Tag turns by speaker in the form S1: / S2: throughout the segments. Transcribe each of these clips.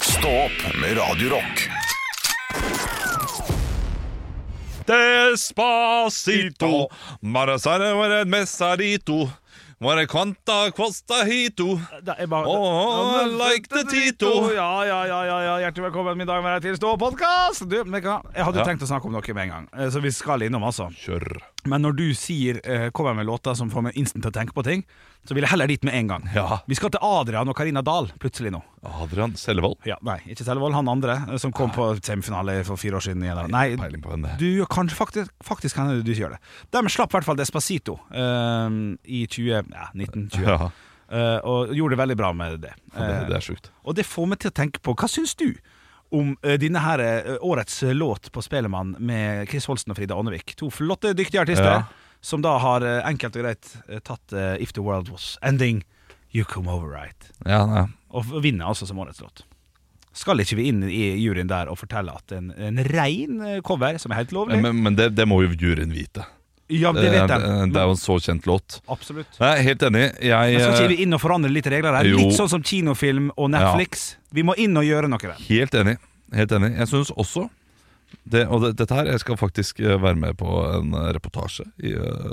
S1: Stå opp med Radio Rock.
S2: Despacito Marasare var et messarito Var det quanta costa hito
S3: Da, jeg bare,
S2: Oh, I like the Tito.
S3: Ja, ja, ja, ja, ja. Hjertelig velkommen min dag med deg til Stå podcast Du, men hva- Jeg hadde jo
S2: Ja.
S3: tenkt å snakke om noe med en gang, eh, så vi skal innom, altså.
S2: Kjør
S3: Men når du sier eh, 'kommer med låter som får meg instant til å tenke på ting', så vil jeg heller dit med en gang.
S2: Ja.
S3: Vi skal til Adrian og Karina Dahl plutselig nå.
S2: Adrian Sellevold
S3: Ja, nei, ikke Selvold, han andre eh, som kom på semifinale for fire år siden. igjen. Nei,
S2: Peiling på henne
S3: du gjør kanskje faktisk, faktisk kan hende du gjør det. De slapp i hvert fall Despacito eh, i 20, ja, 1920.
S2: ja,
S3: Eh, og gjorde det veldig bra med det.
S2: det,
S3: Eh,
S2: det er sjukt
S3: og det får meg til å tenke på Hva syns du om eh, denne her eh, årets låt på Spelemann med Chris Holsten og Frida Ånevik? To flotte, dyktige artister
S2: Ja.
S3: som da har eh, enkelt og greit eh, tatt eh, If The World Was Ending, You Come Over Right.
S2: Ja, nei
S3: Og f- vinner altså som årets låt. Skal ikke vi inn i juryen der og fortelle at en, en rein eh, cover, som er helt lovlig
S2: Men, men det, det må jo juryen vite
S3: Ja, det vet jeg.
S2: Eh, Det er jo en så kjent låt
S3: Absolutt.
S2: Nei, helt enig jeg,
S3: Men skal ikke
S2: eh,
S3: vi inn og forandre litt regler her?
S2: Jo.
S3: Litt sånn som kinofilm og Netflix. Vi må inn og gjøre noe der.
S2: Helt enig Helt enig Jeg synes også det, Og det, dette her Jeg skal faktisk eh, være med på en eh, reportasje I eh,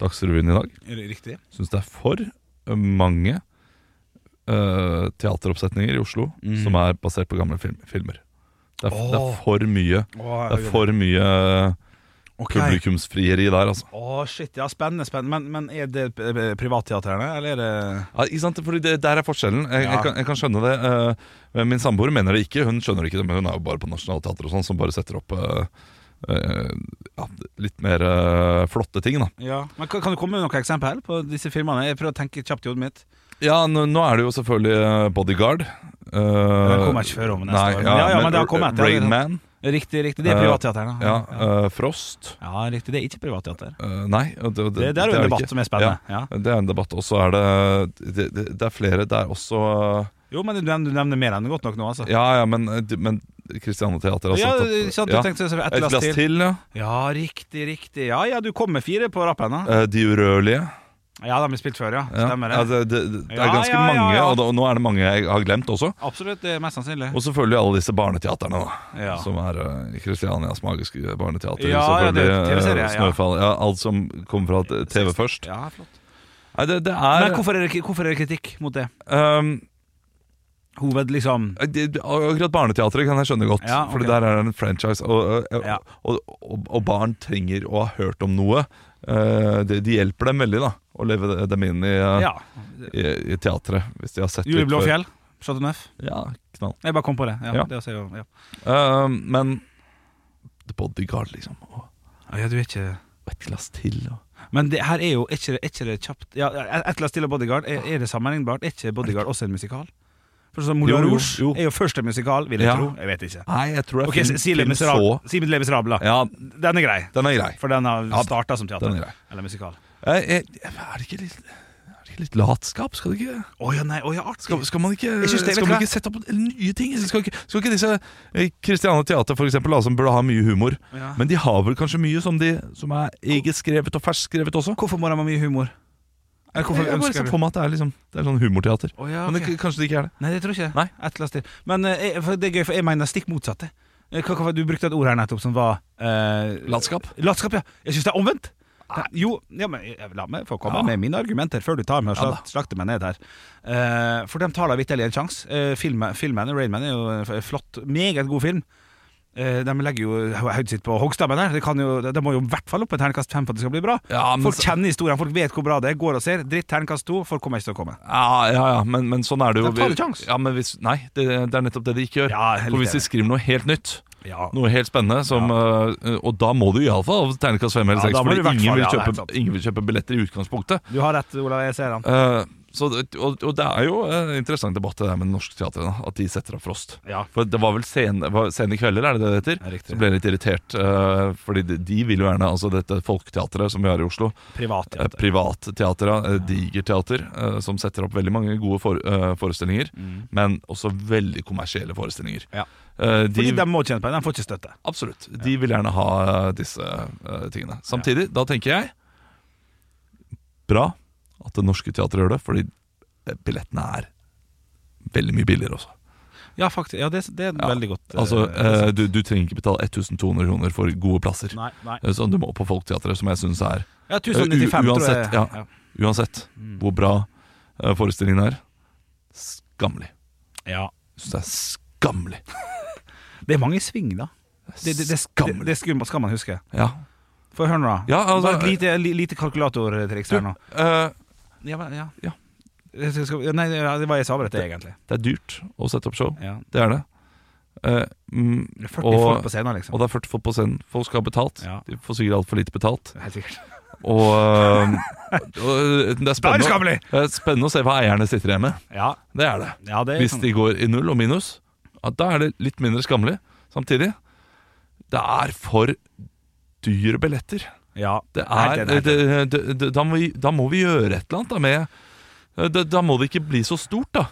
S2: Dagsrevyen i dag
S3: Riktig.
S2: syns det er for mange eh, teateroppsetninger i Oslo som er basert på gamle film, filmer. Det er, det er for mye Det er for mye publikumsfrieri der, altså.
S3: Å, shit. Ja, spennende, spennende. Men, men er det eh, privatteaterne, eller er det
S2: Ja, ikke sant? Fordi det, Der er forskjellen. Jeg,
S3: Ja.
S2: jeg, kan, jeg kan skjønne det. eh, min samboer mener det ikke. Hun skjønner ikke det, men hun er jo bare på Nationaltheatret og sånn, som bare setter opp eh, eh, ja, litt mer eh, flotte ting, da.
S3: Ja. Men kan, kan du komme med noen eksempel på disse filmene? Jeg prøver å tenke kjapt i hodet mitt.
S2: Ja, nå, nå er det jo selvfølgelig eh, Bodyguard. Uh,
S3: Den kommer ikke før om neste år. Men ja, ja, men det har kommet. Ja,
S2: Rain
S3: det-
S2: eh, Man.
S3: Riktig, riktig. Det er
S2: Eh,
S3: privatteaterne.
S2: Ja, eh, Frost
S3: ja, riktig. Det er ikke privatteater.
S2: Eh, Nei og
S3: Det, det er jo
S2: ikke.
S3: en debatt som er spennende. Ja.
S2: ja, Det er en debatt, og så er det det, det det er flere Det er også
S3: Jo, men du nevner, du nevner mer enn godt nok nå, altså.
S2: eh, Ja, ja, men, men Kristiane Teater har
S3: Ja,
S2: satt opp
S3: sant, du
S2: ja.
S3: tenkte sånn så-
S2: Et glass til, ja
S3: Ja, riktig, riktig. Ja, ja, du kom med fire på rappen. da.
S2: Eh, De urørlige
S3: Ja, de er spilt før, ja.
S2: ja.
S3: Stemmer
S2: Ja,
S3: det.
S2: det, det, det er
S3: Ja,
S2: ganske
S3: ja, ja,
S2: mange,
S3: ja.
S2: Og, da, og nå er det mange jeg har glemt også
S3: Absolutt, det er mest sannsynlig.
S2: Og selvfølgelig alle disse barneteaterne da
S3: Ja.
S2: Som er eh, Kristianias magiske barneteater
S3: Ja, ja, det er
S2: selvfølgelig, eh,
S3: TV-serie, ja.
S2: Snøfall Ja, alt som kommer fra TV først
S3: Ja, flott.
S2: Nei, det, det er
S3: Men hvorfor er, det, hvorfor er det kritikk mot det?
S2: ehm,
S3: Hoved, liksom
S2: Eh, Det- det- Akkurat barneteatret kan jeg skjønne godt,
S3: Ja, ok.
S2: Fordi der er det en franchise. Og, og,
S3: Ja.
S2: og, og, og barn trenger å ha hørt om noe. Eh, det, de hjelper dem veldig da å leve de- dem inn i, eh,
S3: Ja.
S2: i, i teatret. Hvis de har sett
S3: Juli
S2: litt før.
S3: Blåfjell, Chateau Neuf.
S2: Ja, knall.
S3: Jeg bare kom på det. Ja,
S2: Ja.
S3: det også er jo, ja.
S2: Eh, men The Bodyguard, liksom. Og
S3: ja, du er ikke
S2: et glass til. Og.
S3: Men det her er jo er ikke, det- er ikke det kjapt ja, Et eller annet stille bodyguard, er, er det sammenlignbart? Er ikke bodyguard også en musikal? For sånn
S2: Jo,
S3: Moulin
S2: jo,
S3: Rouge
S2: jo.
S3: er jo først en musikal, vil jeg
S2: Ja.
S3: tro. Jeg vet ikke.
S2: Nei, jeg tror det er
S3: Ok, si-
S2: film,
S3: si Le
S2: film så
S3: Miserable. Si Le Miserable. da.
S2: Ja,
S3: Den er grei,
S2: den er grei.
S3: for den har
S2: Ja,
S3: starta som teater.
S2: den er grei.
S3: Eller musikal.
S2: Eh, eh, er det ikke litt er det ikke Litt latskap, skal det ikke
S3: Å ja, nei, å ja, artig.
S2: Skal, skal man ikke,
S3: Jeg synes det- vet
S2: skal
S3: du hva?
S2: man ikke sette opp nye ting? Altså, Skal ikke, skal ikke disse eh, Christiane Teater for eksempel, da, som burde ha mye humor
S3: Ja.
S2: Men de har vel kanskje mye som, de, som er egenskrevet og ferskskrevet også?
S3: Hvorfor må de ha mye humor? Eller hvorfor
S2: jeg jeg bare
S3: ønsker
S2: ser
S3: du
S2: for meg at det er, liksom, det er sånn humorteater
S3: Å ja,
S2: Men det,
S3: ok.
S2: kanskje det ikke er det
S3: Nei, det tror jeg ikke.
S2: Nei.
S3: Et eller annet sted. Men eh, jeg, for det er gøy, for jeg mener stikk motsatte. Eh, Hva, hva, du brukte et ord her nettopp som var eh,
S2: Latskap?
S3: Latskap, ja. Jeg syns det er omvendt. Det- Jo, ja, men jeg, la meg få komme
S2: Ja.
S3: med mine argumenter før du tar meg og
S2: Ja da.
S3: slakt, slakter meg ned her. Eh, for dem tar da vitterlig en sjanse. Eh, filmen, filmen Rainman er jo en f- flott, meget god film. Eh, de legger jo hodet sitt på hoggstabben her. Det, kan jo, det må jo i hvert fall opp et terningkast fem for at det skal bli bra.
S2: Ja, men
S3: folk
S2: så-
S3: kjenner historien, folk vet hvor bra det er. Går og ser. Dritt terningkast to, folk kommer ikke til å komme.
S2: Ja, ja, ja men, men sånn er det jo
S3: Da tar du sjans.
S2: ja, men hvis, Nei, det, det er nettopp det de ikke gjør
S3: Ja, jeg er
S2: For
S3: litt
S2: hvis de
S3: enig.
S2: skriver noe helt nytt
S3: Ja,
S2: noe helt spennende som, eh, Og da må du i alle fall ha Tegnekast 5 eller
S3: Ja,
S2: 6
S3: da må du i
S2: Fordi
S3: hvert
S2: ingen
S3: fall-
S2: vil,
S3: ja, det er
S2: kjøpe,
S3: sant.
S2: ingen vil kjøpe billetter i utgangspunktet
S3: Du har rett, Olav. Jeg ser han.
S2: Eh, så, det- og, og det er jo en interessant debatt det der med norsk teater, da, at de setter av Frost.
S3: Ja.
S2: For det var vel sene, var sene kvelder, er det det det
S3: Ja,
S2: heter?
S3: riktig.
S2: Så ble jeg litt irritert, eh, fordi de, de vil jo gjerne altså dette folketeatret som vi har i Oslo. eh,
S3: Privatteater.
S2: Privatteater, eh, digerteater, eh, som setter opp veldig mange gode for, eh, forestillinger. Men også veldig kommersielle forestillinger.
S3: Ja.
S2: Eh,
S3: Mm. Fordi
S2: de,
S3: de må tjene penger, de får ikke støtte.
S2: absolutt. De vil gjerne ha eh, disse eh, tingene. Samtidig, da tenker jeg Bra at det norske teatret gjør det, fordi eh, billettene er veldig mye billigere også.
S3: Ja, faktisk, ja det, det er
S2: Ja,
S3: veldig godt. eh,
S2: Altså, eh,
S3: resett.
S2: du, du trenger ikke betale 1200 kroner for gode plasser.
S3: Nei, nei.
S2: Eh, Så du må opp på Folketeatret, som jeg syns er
S3: Ja, 1095,
S2: u-
S3: tror jeg.
S2: uansett, ja. Uansett
S3: Mm.
S2: hvor bra eh, forestillingen er, skammelig.
S3: Ja.
S2: Jeg syns det er skammelig.
S3: Det er mange sving, da. Det, det, det, det,
S2: skammelig.
S3: det skal, skal man huske.
S2: Ja.
S3: Få høre nå, da.
S2: Ja, altså-
S3: Bare et lite, li- lite kalkulatortriks
S2: Du,
S3: her nå.
S2: eh,
S3: Ja, men- ja.
S2: ja.
S3: Jeg skal- ja, Nei, det ja, det var jeg som avbrøt det, egentlig.
S2: det er dyrt å sette opp show.
S3: Ja.
S2: Det er det. Eh, mm,
S3: 40 folk
S2: og,
S3: på scenen, liksom.
S2: og det er 40 folk på scenen. Folk skal ha betalt.
S3: Ja.
S2: De får sikkert altfor lite betalt.
S3: Helt sikkert.
S2: Og, eh, og øh, det er
S3: Da er det
S2: spennende,
S3: skammelig!
S2: det er spennende å se hva eierne sitter igjen med.
S3: Ja,
S2: Det er det.
S3: ja, det er
S2: Hvis
S3: sånn.
S2: de går i null og minus, ja, da er det litt mindre skammelig. Samtidig, det er for dyre billetter.
S3: ja,
S2: Det
S3: helt
S2: er,
S3: enig, helt
S2: det,
S3: enig.
S2: det, det, da, må vi, da må vi gjøre et eller annet da, med da, da må det ikke bli så stort, da.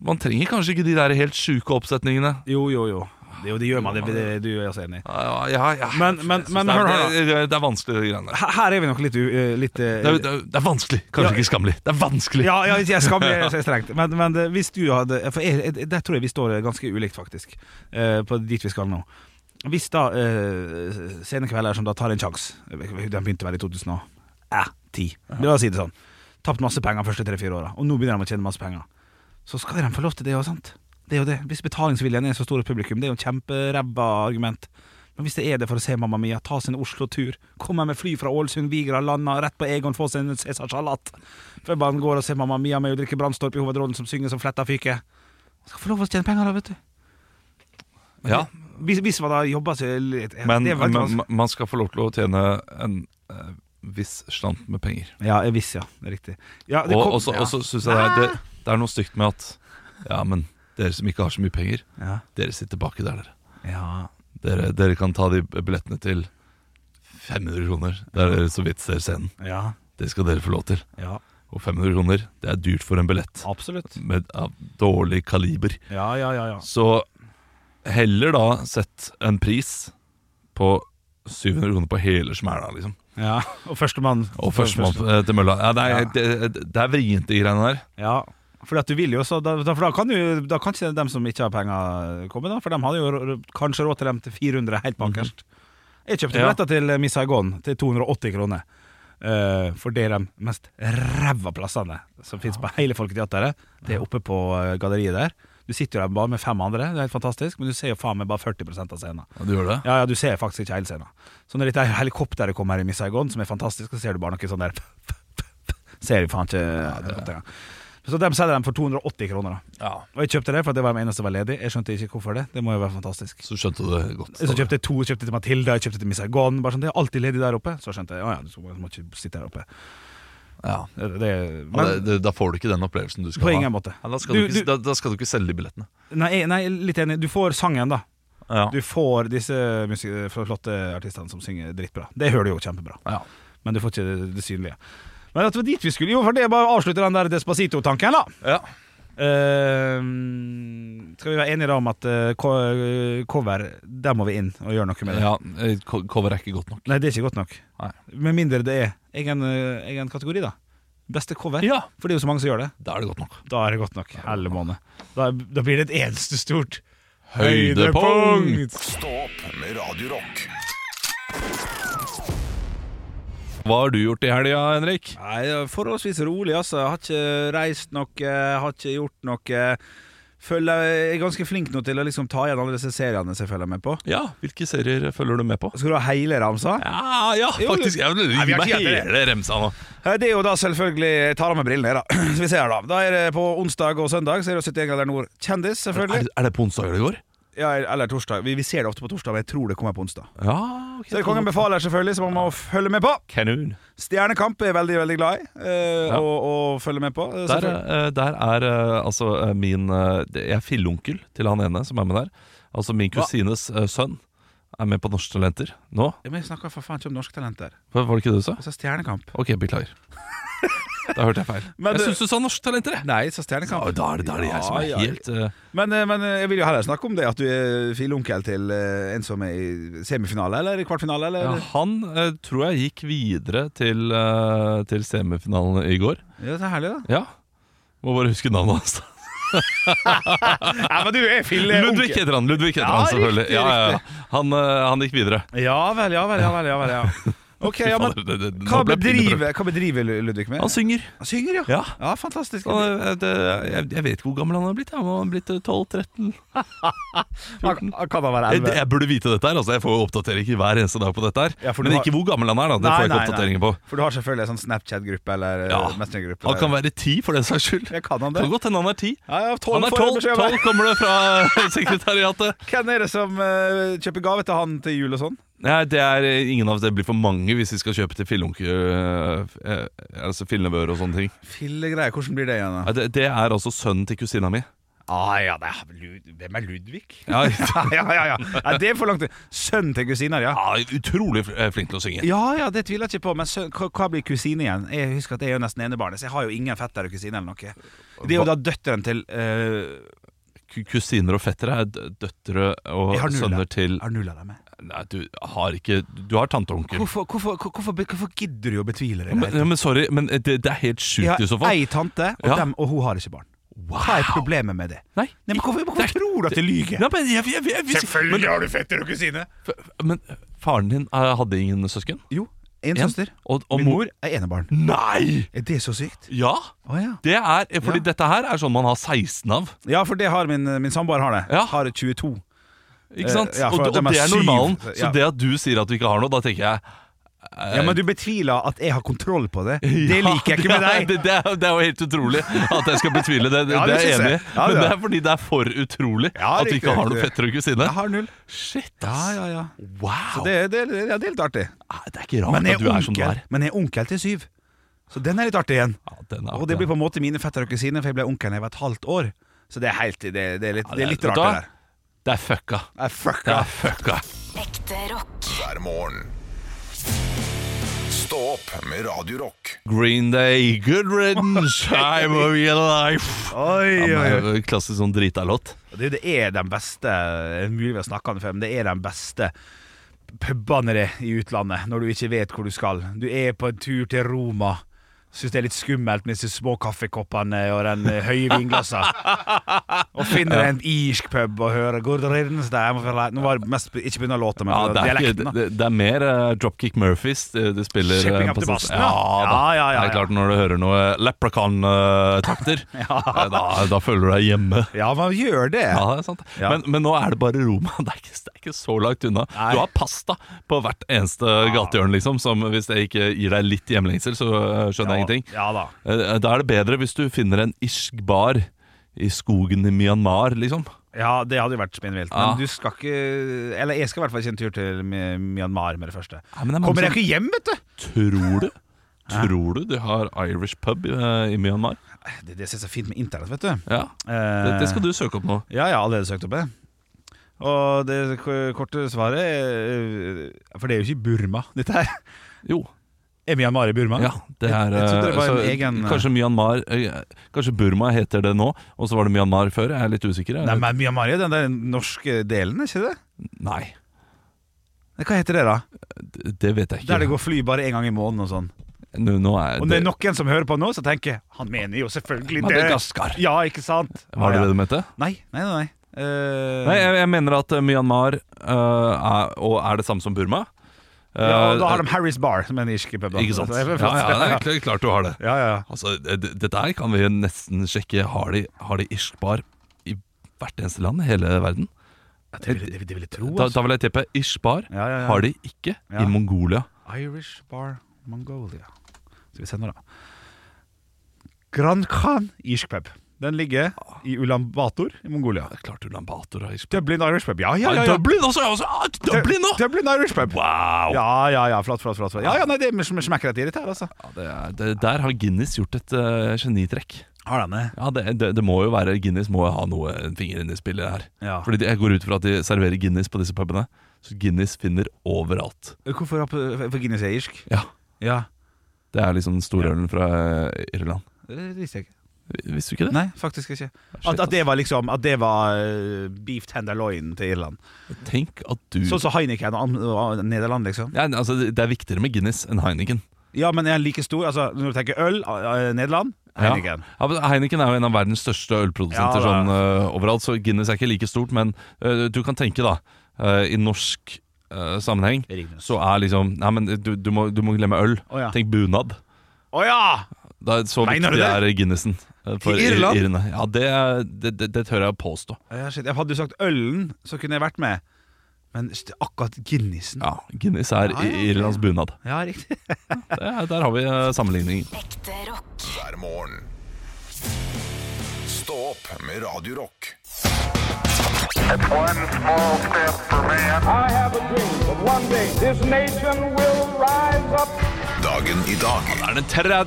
S2: Man trenger kanskje ikke de der helt sjuke oppsetningene.
S3: Jo, jo, jo. Det, er jo, det gjør man, det, det, du er også enig i.
S2: Ja, ja, ja.
S3: Men-
S2: Ah,
S3: men-
S2: Jeg synes
S3: men
S2: det,
S3: hør
S2: er,
S3: her,
S2: det, det, det er vanskelig, de greiene der.
S3: Her her er vi nok litt, u- eh, litt eh,
S2: Det er, det, er, det er vanskelig. Kanskje
S3: Ja.
S2: ikke skammelig. Det er vanskelig.
S3: Ja, ja, jeg skal bli så strengt. Men, men det- hvis du hadde For jeg, jeg, der tror jeg vi står ganske ulikt, faktisk, eh, på dit vi skal nå. Hvis da uh, Scenekvelder som da tar en sjanse Den begynte vel i 2010. La oss si det sånn. Tapt masse penger de første tre-fire åra, og nå begynner de å tjene masse penger. Så skal de få lov til det òg, sant? Det er jo det. Hvis betalingsviljen er så stor i publikum, det er jo en kjemperæbba argument. Men hvis det er det for å se Mamma Mia, ta sin Oslo-tur, komme med fly fra Ålesund, Vigra, landa rett på Egon, få seg en Cæsar Salat før man går og ser Mamma Mia med Ulrikke Brandstorp i hovedrollen som synger som fletta fyke. Skal få lov å tjene penger da, vet du.
S2: Ja.
S3: Hvis, hvis man da jobber så litt
S2: Men
S3: det er veldig
S2: men
S3: vanskelig.
S2: man skal få lov til å tjene en eh, viss slant med penger.
S3: Ja, jeg visste, ja. Det er riktig. Ja, det
S2: Og
S3: kom-
S2: og så
S3: ja.
S2: og så synes jeg det er, det, det er noe stygt med at Ja, men dere som ikke har så mye penger,
S3: ja.
S2: dere sitter baki der, dere.
S3: ja.
S2: dere. Dere kan ta de billettene til 500 kroner. Det er så vidt ser scenen.
S3: Ja.
S2: Det skal dere få lov til.
S3: Ja.
S2: Og 500 kroner, det er dyrt for en billett
S3: Absolutt.
S2: med, av dårlig kaliber.
S3: Ja, ja, ja. ja.
S2: Så heller da sett en pris på 700 kroner på hele smæla, liksom.
S3: ja. Og førstemann.
S2: Og førstemann eh, til mølla. Ja, det er,
S3: Ja.
S2: det, det er vrient, de greiene der.
S3: Ja. Fordi at du vil jo også, da, da- for da kan jo Da kan ikke dem som ikke har penger, komme, da. For de hadde jo r- r- kanskje råd til dem til 400 helt bakerst. Jeg kjøpte
S2: Ja.
S3: billetter til Miss Saigon til 280 kroner. Eh, for det er de mest ræva plassene som fins på hele Folketeatret. Det er oppe på eh, galleriet der. Du sitter jo der bare med fem andre, det er helt fantastisk, men du ser jo faen meg bare 40 av scenen.
S2: Ja, du gjør det?
S3: Ja, ja, du ser faktisk ikke hele scenen. Så når dette helikopteret kommer her i Miss Saigon, som er fantastisk, så ser du bare noe sånn der Ser du faen ikke helikopteret. Så dem selger dem for 280 kroner. da
S2: Ja.
S3: Og jeg kjøpte det for at det var den eneste som var ledig. Jeg skjønte ikke hvorfor det. Det må jo være fantastisk.
S2: Så skjønte du det godt.
S3: Så kjøpte jeg to, kjøpte til Matilda, jeg kjøpte til Miss Saigon. Bare sånn, Det er alltid ledig der oppe. Så skjønte jeg ja, ja, du må må ikke sitte der oppe.
S2: Ja.
S3: Det, det,
S2: Ja,
S3: men
S2: det, det, da får du ikke den opplevelsen du skal
S3: på
S2: ha.
S3: ingen måte.
S2: Ja, da, skal
S3: Du-
S2: du, ikke,
S3: du-
S2: da, da skal du ikke selge de billettene.
S3: Nei, jeg- nei, litt enig. Du får sangen, da.
S2: Ja.
S3: Du får disse musik flotte artistene som synger dritbra. Det hører du jo kjempebra.
S2: Ja.
S3: Men du får ikke det, det synlige. Men at det var dit vi skulle. Jo, for det er bare å avslutte den der Despacito-tanken, da.
S2: Ja.
S3: Ehm, skal vi være enige da om at eh, co eh, cover, der må vi inn og gjøre noe med det?
S2: Ja, eh, co- cover er ikke godt nok.
S3: Nei, det er ikke godt nok.
S2: Nei.
S3: Med mindre det er egen, eh, egen kategori, da. Beste cover.
S2: Ja,
S3: For det er jo så mange som gjør det.
S2: Da er det godt nok.
S3: Da er det godt nok. Helle måned. Da, da blir det et eneste stort
S1: Stå opp med Radio Rock.
S2: Hva har du gjort i helga, Henrik?
S3: Nei, det er forholdsvis rolig, altså. Jeg har ikke reist noe, jeg har ikke gjort noe. Føler jeg er ganske flink nå til å liksom ta igjen alle disse seriene som jeg følger med på.
S2: Ja, Hvilke serier følger du med på?
S3: Skal du ha hele ramsa?
S2: Ja, ja
S3: Jo,
S2: faktisk. Jeg vil
S3: Nei, vi
S2: gi
S3: har
S2: meg
S3: ikke gjort
S2: hele remsa nå.
S3: Eh, Det er jo da selvfølgelig Jeg tar av meg brillene, jeg, da. Så vi ser her, da. Da er det på onsdag og søndag Så er det 71 grader nord. Kjendis,
S2: Er,
S3: selvfølgelig.
S2: er det på onsdag det går?
S3: Ja, eller torsdag. Vi, vi ser det ofte på torsdag, men jeg tror det kommer på onsdag.
S2: Ja,
S3: Så er det Kongen befaler, selvfølgelig, som man må følge med på.
S2: Kanon.
S3: Stjernekamp er jeg veldig, veldig glad i eh,
S2: Ja.
S3: å, å følge med på. eh,
S2: Der,
S3: selvfølgelig.
S2: eh, der er eh, altså eh, min eh, det- Jeg er filleonkel til han ene som er med der. Altså min
S3: Hva?
S2: kusines eh, sønn er med på Norske Talenter nå.
S3: Ja, Men jeg snakker for faen ikke om norske talenter.
S2: Hva var det ikke det du sa?
S3: Altså Stjernekamp.
S2: Ok, beklager. Da hørte jeg feil.
S3: Men
S2: jeg
S3: det-
S2: syns du sa norske talenter, jeg.
S3: Nei, så Stjernekamp.
S2: Ja, da er det, da er det jeg som er
S3: Ja, ja.
S2: helt eh,
S3: Men, eh, men eh, jeg vil jo heller snakke om det at du er filonkel til eh, en som er i semifinale eller i
S2: ja,
S3: kvartfinale. Eller?
S2: Han eh, tror jeg gikk videre til, eh, til semifinalen i går.
S3: Ja. det er herlig, da.
S2: Ja. Må bare huske navnet hans.
S3: Nei, men du er Phil eh,
S2: Ludvig
S3: onkel.
S2: heter han, Ludvig heter
S3: Ja,
S2: han selvfølgelig.
S3: riktig,
S2: Ja, ja, ja. Han, eh, han gikk videre.
S3: Ja vel, ja vel, ja vel. Ja, vel, ja. Ok, ja, men
S2: Fy fader, det- det-
S3: hva
S2: nå ble jeg pinneprøvd.
S3: bedriver, hva bedriver Lu- Ludvig med?
S2: Han synger.
S3: Han synger, ja.
S2: Ja.
S3: Ja, fantastisk.
S2: Han, er- det, jeg, jeg vet ikke hvor gammel han har blitt. Han har blitt eh, 12-13.
S3: Han- han Kan han være
S2: Jeg,
S3: 11?
S2: jeg burde vite dette her. Altså, jeg får jo oppdateringer hver eneste dag på dette her.
S3: Ja, for du
S2: Men
S3: har-
S2: ikke hvor gammel han er, da. Det får jeg ikke
S3: Nei, nei, nei.
S2: oppdateringer på.
S3: For du har selvfølgelig en sånn Snapchat-gruppe eller
S2: Ja.
S3: eh, Messenger-gruppe.
S2: Han
S3: der.
S2: kan være 10 for den saks skyld.
S3: ja, kan han det?
S2: Kan godt hende han er 10.
S3: Ja, ja, 12
S2: Han er
S3: får jeg
S2: 12,
S3: beskjed om.
S2: 12 kommer det fra sekretariatet.
S3: Hvem er det som eh, kjøper gave til han til jul og sånn?
S2: Nei, det er eh, ingen av det blir for mange hvis vi skal kjøpe til fillonker eh, Altså fillenevøer og sånne ting.
S3: Fillegreier, hvordan blir det igjen? da?
S2: Nei, Det, det er altså sønnen til kusina mi.
S3: Ah, ja, det er Lud Hvem er Ludvig?
S2: Ja,
S3: ja, ja, ja, ja. ja, det er for langt Sønnen til kusiner, ja.
S2: ja, utrolig fl- eh, flink til å synge.
S3: Ja, ja, det tviler jeg ikke på, men sønn, hva, hva blir kusine igjen? Jeg husker at jeg er jo nesten enebarn, så jeg har jo ingen fetter og kusine eller noe. Det er jo da døtteren til eh,
S2: Ku- Kusiner og fettere er d- døtre og
S3: Jeg har null,
S2: sønner
S3: da.
S2: til
S3: Har null av dem med?
S2: Nei, du har ikke Du har tante og onkel.
S3: Hvorfor, hvorfor, hvorfor, hvorfor gidder du å betvile det? i det
S2: Men,
S3: hele tatt?
S2: ja, men sorry, men eh, det, det er helt sjukt i
S3: Jeg
S2: så
S3: har
S2: fall.
S3: ei tante, og,
S2: Ja.
S3: dem, og hun har ikke barn. Hva er problemet med det?
S2: Nei,
S3: Nei, men Hvorfor, hvorfor
S2: Det er-
S3: tror du at jeg lyver?
S2: Nei, men jeg, jeg, jeg, jeg,
S3: Selvfølgelig har du fetter og kusine!
S2: men, men faren din eh, hadde ingen søsken?
S3: Jo, en
S2: En?
S3: søster.
S2: Og, og
S3: Min mor er enebarn.
S2: Nei!
S3: Er det så sykt?
S2: Ja!
S3: Å ja.
S2: Det er, fordi
S3: Ja.
S2: dette her er sånn man har 16 av.
S3: Ja, for det har min, min samboer har det.
S2: Ja.
S3: Har 22.
S2: Ikke sant?
S3: Eh, ja, for
S2: og, og
S3: dem er
S2: det er
S3: syv,
S2: normalen.
S3: så-
S2: Så
S3: ja.
S2: det at du sier at du ikke har noe, da tenker jeg eh,
S3: Ja, Men du betviler at jeg har kontroll på det.
S2: ja,
S3: Det liker jeg ikke med deg.
S2: Det, det, er, det er jo helt utrolig at jeg skal betvile det. Det,
S3: Ja, det
S2: er jeg
S3: synes
S2: enig i.
S3: jeg. Ja,
S2: Men
S3: det
S2: det
S3: er.
S2: er fordi det er for utrolig
S3: Ja,
S2: at du
S3: riktig,
S2: ikke har noen
S3: riktig.
S2: fetter og kusine.
S3: Jeg har null.
S2: Shit,
S3: Ja,
S2: ass.
S3: ja, ja.
S2: Wow.
S3: Det, det, det, ja, det er litt artig.
S2: Nei, det er ikke rart
S3: Men jeg
S2: at du
S3: er
S2: er som du
S3: onkel,
S2: er.
S3: men jeg er onkel til syv. Så den er litt artig igjen.
S2: Ja, den er
S3: Og det blir på en måte mine fettere og kusiner, for jeg ble onkel da jeg var et halvt år. Så det er, helt, det, det er, litt,
S2: Ja,
S3: det er litt
S2: vet
S3: rart,
S2: du hva?
S3: det der.
S2: Det er fucka.
S3: Nei, fuck
S2: Det
S3: ja.
S2: er fucka.
S4: Ekte rock.
S1: hver morgen. Stå opp med Radio Rock.
S2: Green Day, good riddance, time of your life.
S3: Oi,
S2: Ja,
S3: oi,
S2: men,
S3: oi.
S2: klassisk sånn drita låt.
S3: Det, det er den beste det er Mulig vi har snakket om det før, men det er den beste pubene det i utlandet, når du ikke vet hvor du skal. Du er på en tur til Roma. Syns det er litt skummelt med disse små kaffekoppene og den eh, høye vinglasset. Og finner en irsk pub og hører Good riddance there, I'm afraid." Nå var det mest ikke pga. låta, men
S2: Ja,
S3: på
S2: det, er ikke,
S3: dialekten. da.
S2: det, det er mer eh, Dropkick Murphys det, det spiller eh,
S3: Shipping up
S2: på
S3: to
S2: sånn- ja,
S3: Boston,
S2: da.
S3: ja. Ja, ja, ja,
S2: Det er
S3: ja.
S2: klart når du hører noe leprechaun-takter, eh, da, da føler du deg hjemme.
S3: Ja, man gjør det.
S2: Ja, det er sant.
S3: Ja.
S2: Men, men nå er det bare Roma. Det er ikke, det er ikke så langt unna.
S3: Nei.
S2: Du har pasta på hvert eneste gatehjørne, liksom, som hvis det ikke gir deg litt hjemlengsel, så eh, skjønner jeg ingenting.
S3: Ja da.
S2: Eh, Da er det bedre hvis du finner en irsk bar i skogen i Myanmar, liksom.
S3: Ja, det hadde jo vært spinnvilt.
S2: Ja.
S3: Men du skal ikke Eller jeg skal i hvert fall ikke en tur til Mi- Myanmar med det første.
S2: Nei, men det er mange
S3: Kommer jeg
S2: som-
S3: ikke hjem, vet du!
S2: Tror du? Tror du de har Irish pub eh, i Myanmar?
S3: Det, det synes jeg er fint med internett, vet du.
S2: Ja, det, det
S3: Eh.
S2: skal du søke opp nå.
S3: Ja, jeg har allerede søkt opp det. Og det k- korte svaret er, eh, For det er jo ikke Burma, dette her.
S2: Jo,
S3: Er Myanmar i Burma?
S2: ja, det er
S3: Ah. jeg trodde det var en
S2: eh, så
S3: egen-
S2: Kanskje Myanmar eh, Kanskje Burma heter det nå, og så var det Myanmar før. Jeg er litt usikker. jeg.
S3: Nei, men Myanmar er den der norske delen, er ikke det?
S2: Nei,
S3: Hva heter det, da?
S2: d- det vet jeg ikke.
S3: Der det går fly bare én gang i måneden og sånn.
S2: Nå, nå er
S3: Om det er noen som hører på nå, så tenker jeg Han mener jo selvfølgelig det.
S2: Madagaskar.
S3: Ja, ikke sant?
S2: Var det
S3: Ja, ja.
S2: det du mente?
S3: Nei, nei, nei. nei. Eh,
S2: Nei, jeg, jeg mener at eh, Myanmar eh, er, og er det samme som Burma. Eh,
S3: ja, og da har de Harry's Bar, som er en irsk pub. da.
S2: Ikke sant?
S3: Så
S2: Ja, ja,
S3: det er flott.
S2: det er klart- klart du har det.
S3: ja, ja.
S2: Altså, det, det- Dette her kan vi nesten sjekke. Har de, har de irsk bar i hvert eneste land i hele verden?
S3: Ja, Det vil, det, vil, det vil jeg tro,
S2: Da,
S3: altså.
S2: da vil jeg tippe irsk bar
S3: Ja, ja, ja.
S2: har de ikke
S3: Ja.
S2: i Mongolia.
S3: Irish Bar Mongolia. Skal vi se nå, da. Gran Khan irsk pub. Den ligger i Ulan Bator i Mongolia.
S2: Det er klart Ulan Bator har irsk bar.
S3: Dublin Irish pub. Ja, ja, ja. ja.
S2: Dublin også! ja, også. Ah, Dublin nå!
S3: Dublin Irish pub.
S2: Wow!
S3: Ja, ja, ja. Flott, flott, flott. flott. Ja, ja, nei, det sm- smekker rett i dette her, altså.
S2: Ja, det er, det, der har Guinness gjort et eh, genitrekk.
S3: Har den det?
S2: Ja, det, det, det må jo være Guinness må jo ha noe, en finger inne i spillet her.
S3: Ja.
S2: Fordi de- Jeg går ut fra at de serverer Guinness på disse pubene. Så Guinness finner overalt.
S3: Hvorfor er Guinness er irsk?
S2: Ja,
S3: Ja,
S2: Det er liksom storølen fra eh, Irland.
S3: det visste jeg ikke.
S2: Visste du ikke det?
S3: Nei, faktisk ikke.
S2: Shit, altså.
S3: At, at det var liksom At det var eh, beef tenderloin til Irland.
S2: Mm. Tenk at du
S3: Sånn som Heineken og, Am- og Nederland, liksom.
S2: ja, altså, Det er viktigere med Guinness enn Heineken.
S3: Ja, men er den like stor? Altså, når du tenker øl, eh, Nederland. Heineken.
S2: Ja. Ja, men Heineken er jo en av verdens største
S3: Ja,
S2: ølprodusenter
S3: det er
S2: sånn, eh, overalt, så Guinness er ikke like stort. Men eh, du kan tenke, da, eh, i norsk eh, sammenheng,
S3: Ringnes.
S2: så er liksom Nei, men du, du, må, du må glemme øl.
S3: Å, ja.
S2: Tenk bunad.
S3: Å ja!
S2: Det er så
S3: Mener du
S2: viktig
S3: det?
S2: er Guinnessen. eh,
S3: I
S2: ir-
S3: Irland?
S2: irene. Ja, det, er- det, det, det tør jeg å påstå.
S3: Ja, shit, jeg hadde jo sagt ølen, så kunne jeg vært med. Men st- akkurat Guinnessen
S2: Ja, Guinness er
S3: Ja, ja, ja.
S2: Irlands bunad.
S3: Ja, riktig.
S2: Det, er- der har vi eh, sammenligningen.
S4: Ekte rock.
S1: hver morgen. Stå opp med Radio Rock.
S5: One small step for man.
S6: I have a dream that one day this nation will rise up.
S1: Dagen i dag
S2: Det er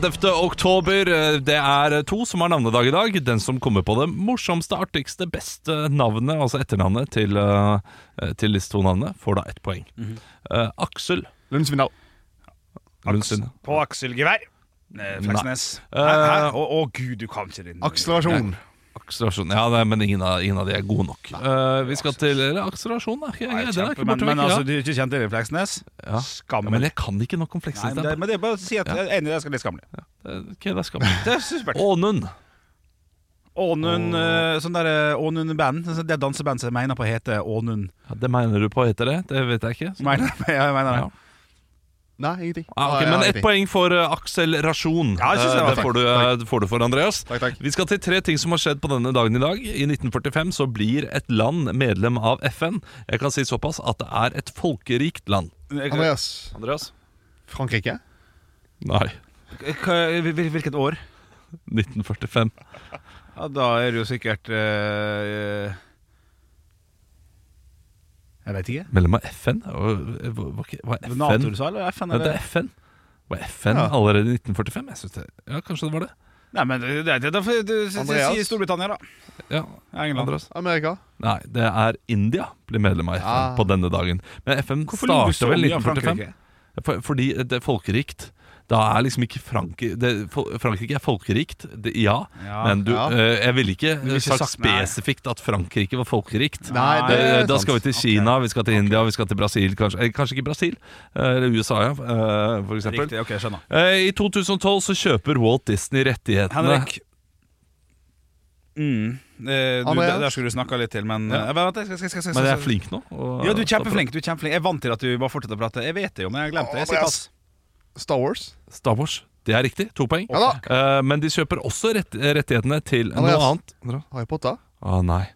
S2: den 30. oktober. Det er to som har navnedag i dag. Den som kommer på det morsomste, artigste, beste navnet, altså etternavnet, til, eh, til disse to navnene, får da ett poeng.
S3: Mhm.
S2: Eh, Aksel
S7: Lundsvindal.
S2: Lundsvin.
S3: På akselgevær. Eh, Fleksnes. Hæ? Hæ? Å, å, gud, du kan ikke din
S7: Akselerasjon.
S2: Akselerasjon. Ja, nei, men ingen av, ingen av de er gode nok. Eh, vi skal til eller, akselerasjon, da. Jeg,
S3: Nei,
S2: jeg, det er
S3: kjempe,
S2: ikke
S3: men,
S2: borte
S3: men
S2: vekk.
S3: altså,
S2: ja.
S3: du er ikke kjent til Fleksnes?
S2: Ja. Ja,
S3: Skammer.
S2: men jeg kan ikke nok om
S3: Nei,
S2: Fleksnes.
S3: men, det,
S2: Det er-
S3: men det er bare å si at jeg er enig, det skal bli skammelig.
S2: Ok, det skal vi.
S3: Det er supert.
S2: Ånund.
S3: Ånund eh, sånn der, eh, Ånund band. sånn- Det danseband som jeg mener på heter Ånund.
S2: Ja, det mener du på heter det? Det vet jeg ikke. Så-
S3: Mener, ja, jeg mener det.
S2: Ja.
S7: Nei, ingenting.
S2: Ah, ok,
S7: Ja,
S2: men
S7: ja,
S2: ett
S7: ingenting.
S2: poeng for eh, Aksel Rasjon.
S3: Ja, jeg synes det
S2: Eh,
S3: var
S2: det får du, eh, det får du for Andreas.
S7: Takk, takk.
S2: Vi skal til tre ting som har skjedd på denne dagen i dag. I 1945 så blir et land medlem av FN. Jeg kan si såpass at det er et folkerikt land.
S7: Andreas.
S2: Andreas?
S7: Frankrike?
S2: Nei.
S3: Eh, Hva- hvil- Hvilket år?
S2: 1945.
S3: Ja, da er det jo sikkert eh, Jeg veit ikke.
S2: Medlem av FN? Hva- hva- Hva hva er
S3: Nato,
S2: FN?
S3: du sa? Eller FN?
S2: Nei,
S3: Eller?
S2: det er FN. Var FN
S7: Ja.
S2: allerede i 1945? Jeg synes det, ja, kanskje det var det.
S3: Nei, men det, det, det, da får du si-
S7: Andreas?
S3: si Storbritannia, da.
S2: Ja,
S3: England.
S2: Andreas?
S7: Amerika?
S2: Nei, det er India blir medlem av FN
S7: Ah.
S2: på denne dagen. Men FN starta vel i 1945? For, fordi det er folkerikt. Da er liksom ikke Frankrike det, fol- Frankrike er folkerikt, det, ja,
S3: Ja.
S2: men du,
S7: Ja.
S2: eh, jeg ville ikke,
S3: ville ikke
S2: sagt
S3: sagt nei.
S2: spesifikt at Frankrike var folkerikt.
S7: Nei, det
S2: Eh,
S7: er
S2: da
S7: sant.
S2: skal vi til Kina, vi skal til India, vi skal til Brasil, kanskje, eh, kanskje ikke Brasil. eh, Eller USA, ja, eh, for eksempel.
S3: Riktig, ok, skjønner.
S2: Eh, I 2012 så kjøper Walt Disney rettighetene
S3: Henrik. Mm. Eh, du,
S7: Andreas?
S3: der, der skulle du snakka litt til, men
S2: Ja.
S3: eh, vent, jeg skal, skal, skal, skal,
S2: Men jeg er flink nå. og-
S3: Ja, du er kjempeflink. du er kjempeflink Jeg er vant til at du bare fortsetter å prate. Jeg vet det jo, men jeg har glemt det. Jeg sier pass.
S7: Star Wars?
S2: Star Wars. Det er riktig. To poeng.
S7: Ja da.
S2: Eh, men de kjøper også rett rettighetene til
S7: Andreas.
S2: noe annet. Andreas?
S7: Harry Potter?
S2: Å nei.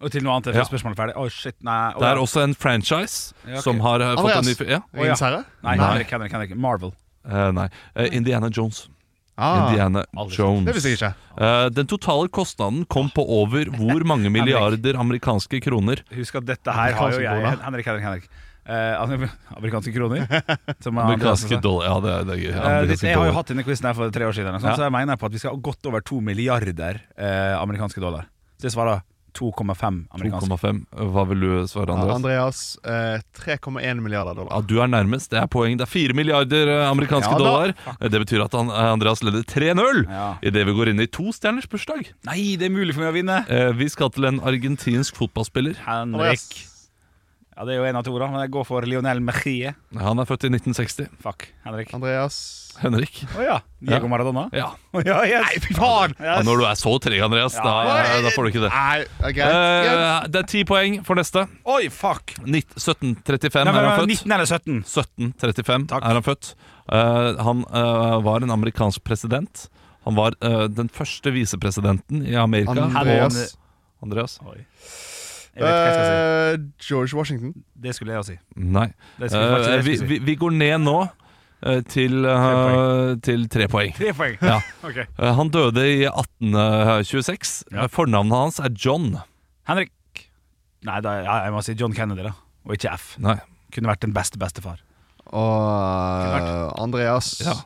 S3: Og til noe annet.
S2: Ja.
S3: Jeg får spørsmålet ferdig. Å, shit, nei. Å,
S2: Det er
S3: ja.
S2: også en franchise
S3: Ja, ok.
S2: som har eh, fått en ny
S7: Andreas?
S2: fi- ja?
S3: ja.
S7: Ringens herre?
S3: Nei,
S2: Nei.
S3: Henrik, Henrik, Henrik. Marvel.
S2: Eh, Nei. Eh, Indiana Jones.
S7: Ah,
S2: Indiana Jones.
S7: det visste jeg ikke.
S2: Eh, den totale kostnaden kom på over hvor mange milliarder amerikanske kroner?
S3: Husk at dette her har jo
S7: Amerikanske
S3: jeg
S7: kroner.
S3: Henrik, Henrik, Henrik. Eh, altså, amerikanske kroner. som Andreas sa.
S2: Amerikanske dollar. Ja, det er, det er,
S3: Eh,
S2: amerikanske
S3: litt- jeg har jo
S2: dollar.
S3: hatt denne quizen her for tre år siden, eller noe
S2: Ja.
S3: sånt, så jeg mener på at vi skal ha godt over to milliarder eh, amerikanske dollar. Så jeg svarer 2,5 amerikanske.
S2: 2,5. Hva vil du svare,
S7: Ja,
S2: Andreas?
S7: Ah. Andreas, eh, 3,1 milliarder dollar.
S2: Ja, Du er nærmest. Det er poeng. Det er 4 milliarder eh, amerikanske
S7: Ja da.
S2: dollar. Eh, Det betyr at han, eh, Andreas leder 3-0
S3: Ja.
S2: idet vi går inn i to stjerners bursdag.
S3: Nei, det er mulig for meg å vinne!
S2: Eh, Vi skal til en argentinsk fotballspiller.
S3: Henrik.
S7: Andreas.
S3: Ja, det er jo en av to, da, men jeg går for Lionel Mejie.
S2: Han er født i 1960.
S3: Fuck, Henrik. Å
S7: Andreas.
S2: Henrik.
S3: ja. Diego
S2: Ja.
S3: Maradona?
S2: Ja.
S3: Å ja, yes.
S7: Nei, fy faen!
S2: Ja, når du er så treg, Andreas, da, da får du ikke det.
S7: Nei, ok. greit.
S2: Eh, det er ti poeng for neste.
S3: Oi, fuck!
S2: Nitt- 1735
S3: Nei,
S2: er
S3: men,
S2: han født.
S3: 19 eller 17?
S2: 1735
S3: Takk.
S2: er han født. Eh, han eh, var en amerikansk president. Han var eh, den første visepresidenten i Amerika.
S7: Andreas.
S2: Andreas?
S3: Jeg vet ikke hva jeg skal si.
S7: Eh, George Washington.
S3: Det skulle jeg jo si.
S2: Nei.
S3: Det skulle jeg faktisk-
S2: Eh,
S3: det
S2: vi,
S3: skulle jeg si.
S2: vi, vi går ned nå eh, til, eh, til tre poeng.
S3: Tre poeng.
S2: Ja.
S3: Ok.
S2: Eh, han døde i 1826.
S3: Ja.
S2: Eh, Fornavnet hans er John.
S3: Henrik. Nei, da, ja, jeg må si John Kennedy, da. Og ikke F.
S2: Nei.
S3: Kunne vært den beste bestefar.
S7: Og eh, Andreas.
S2: Ja.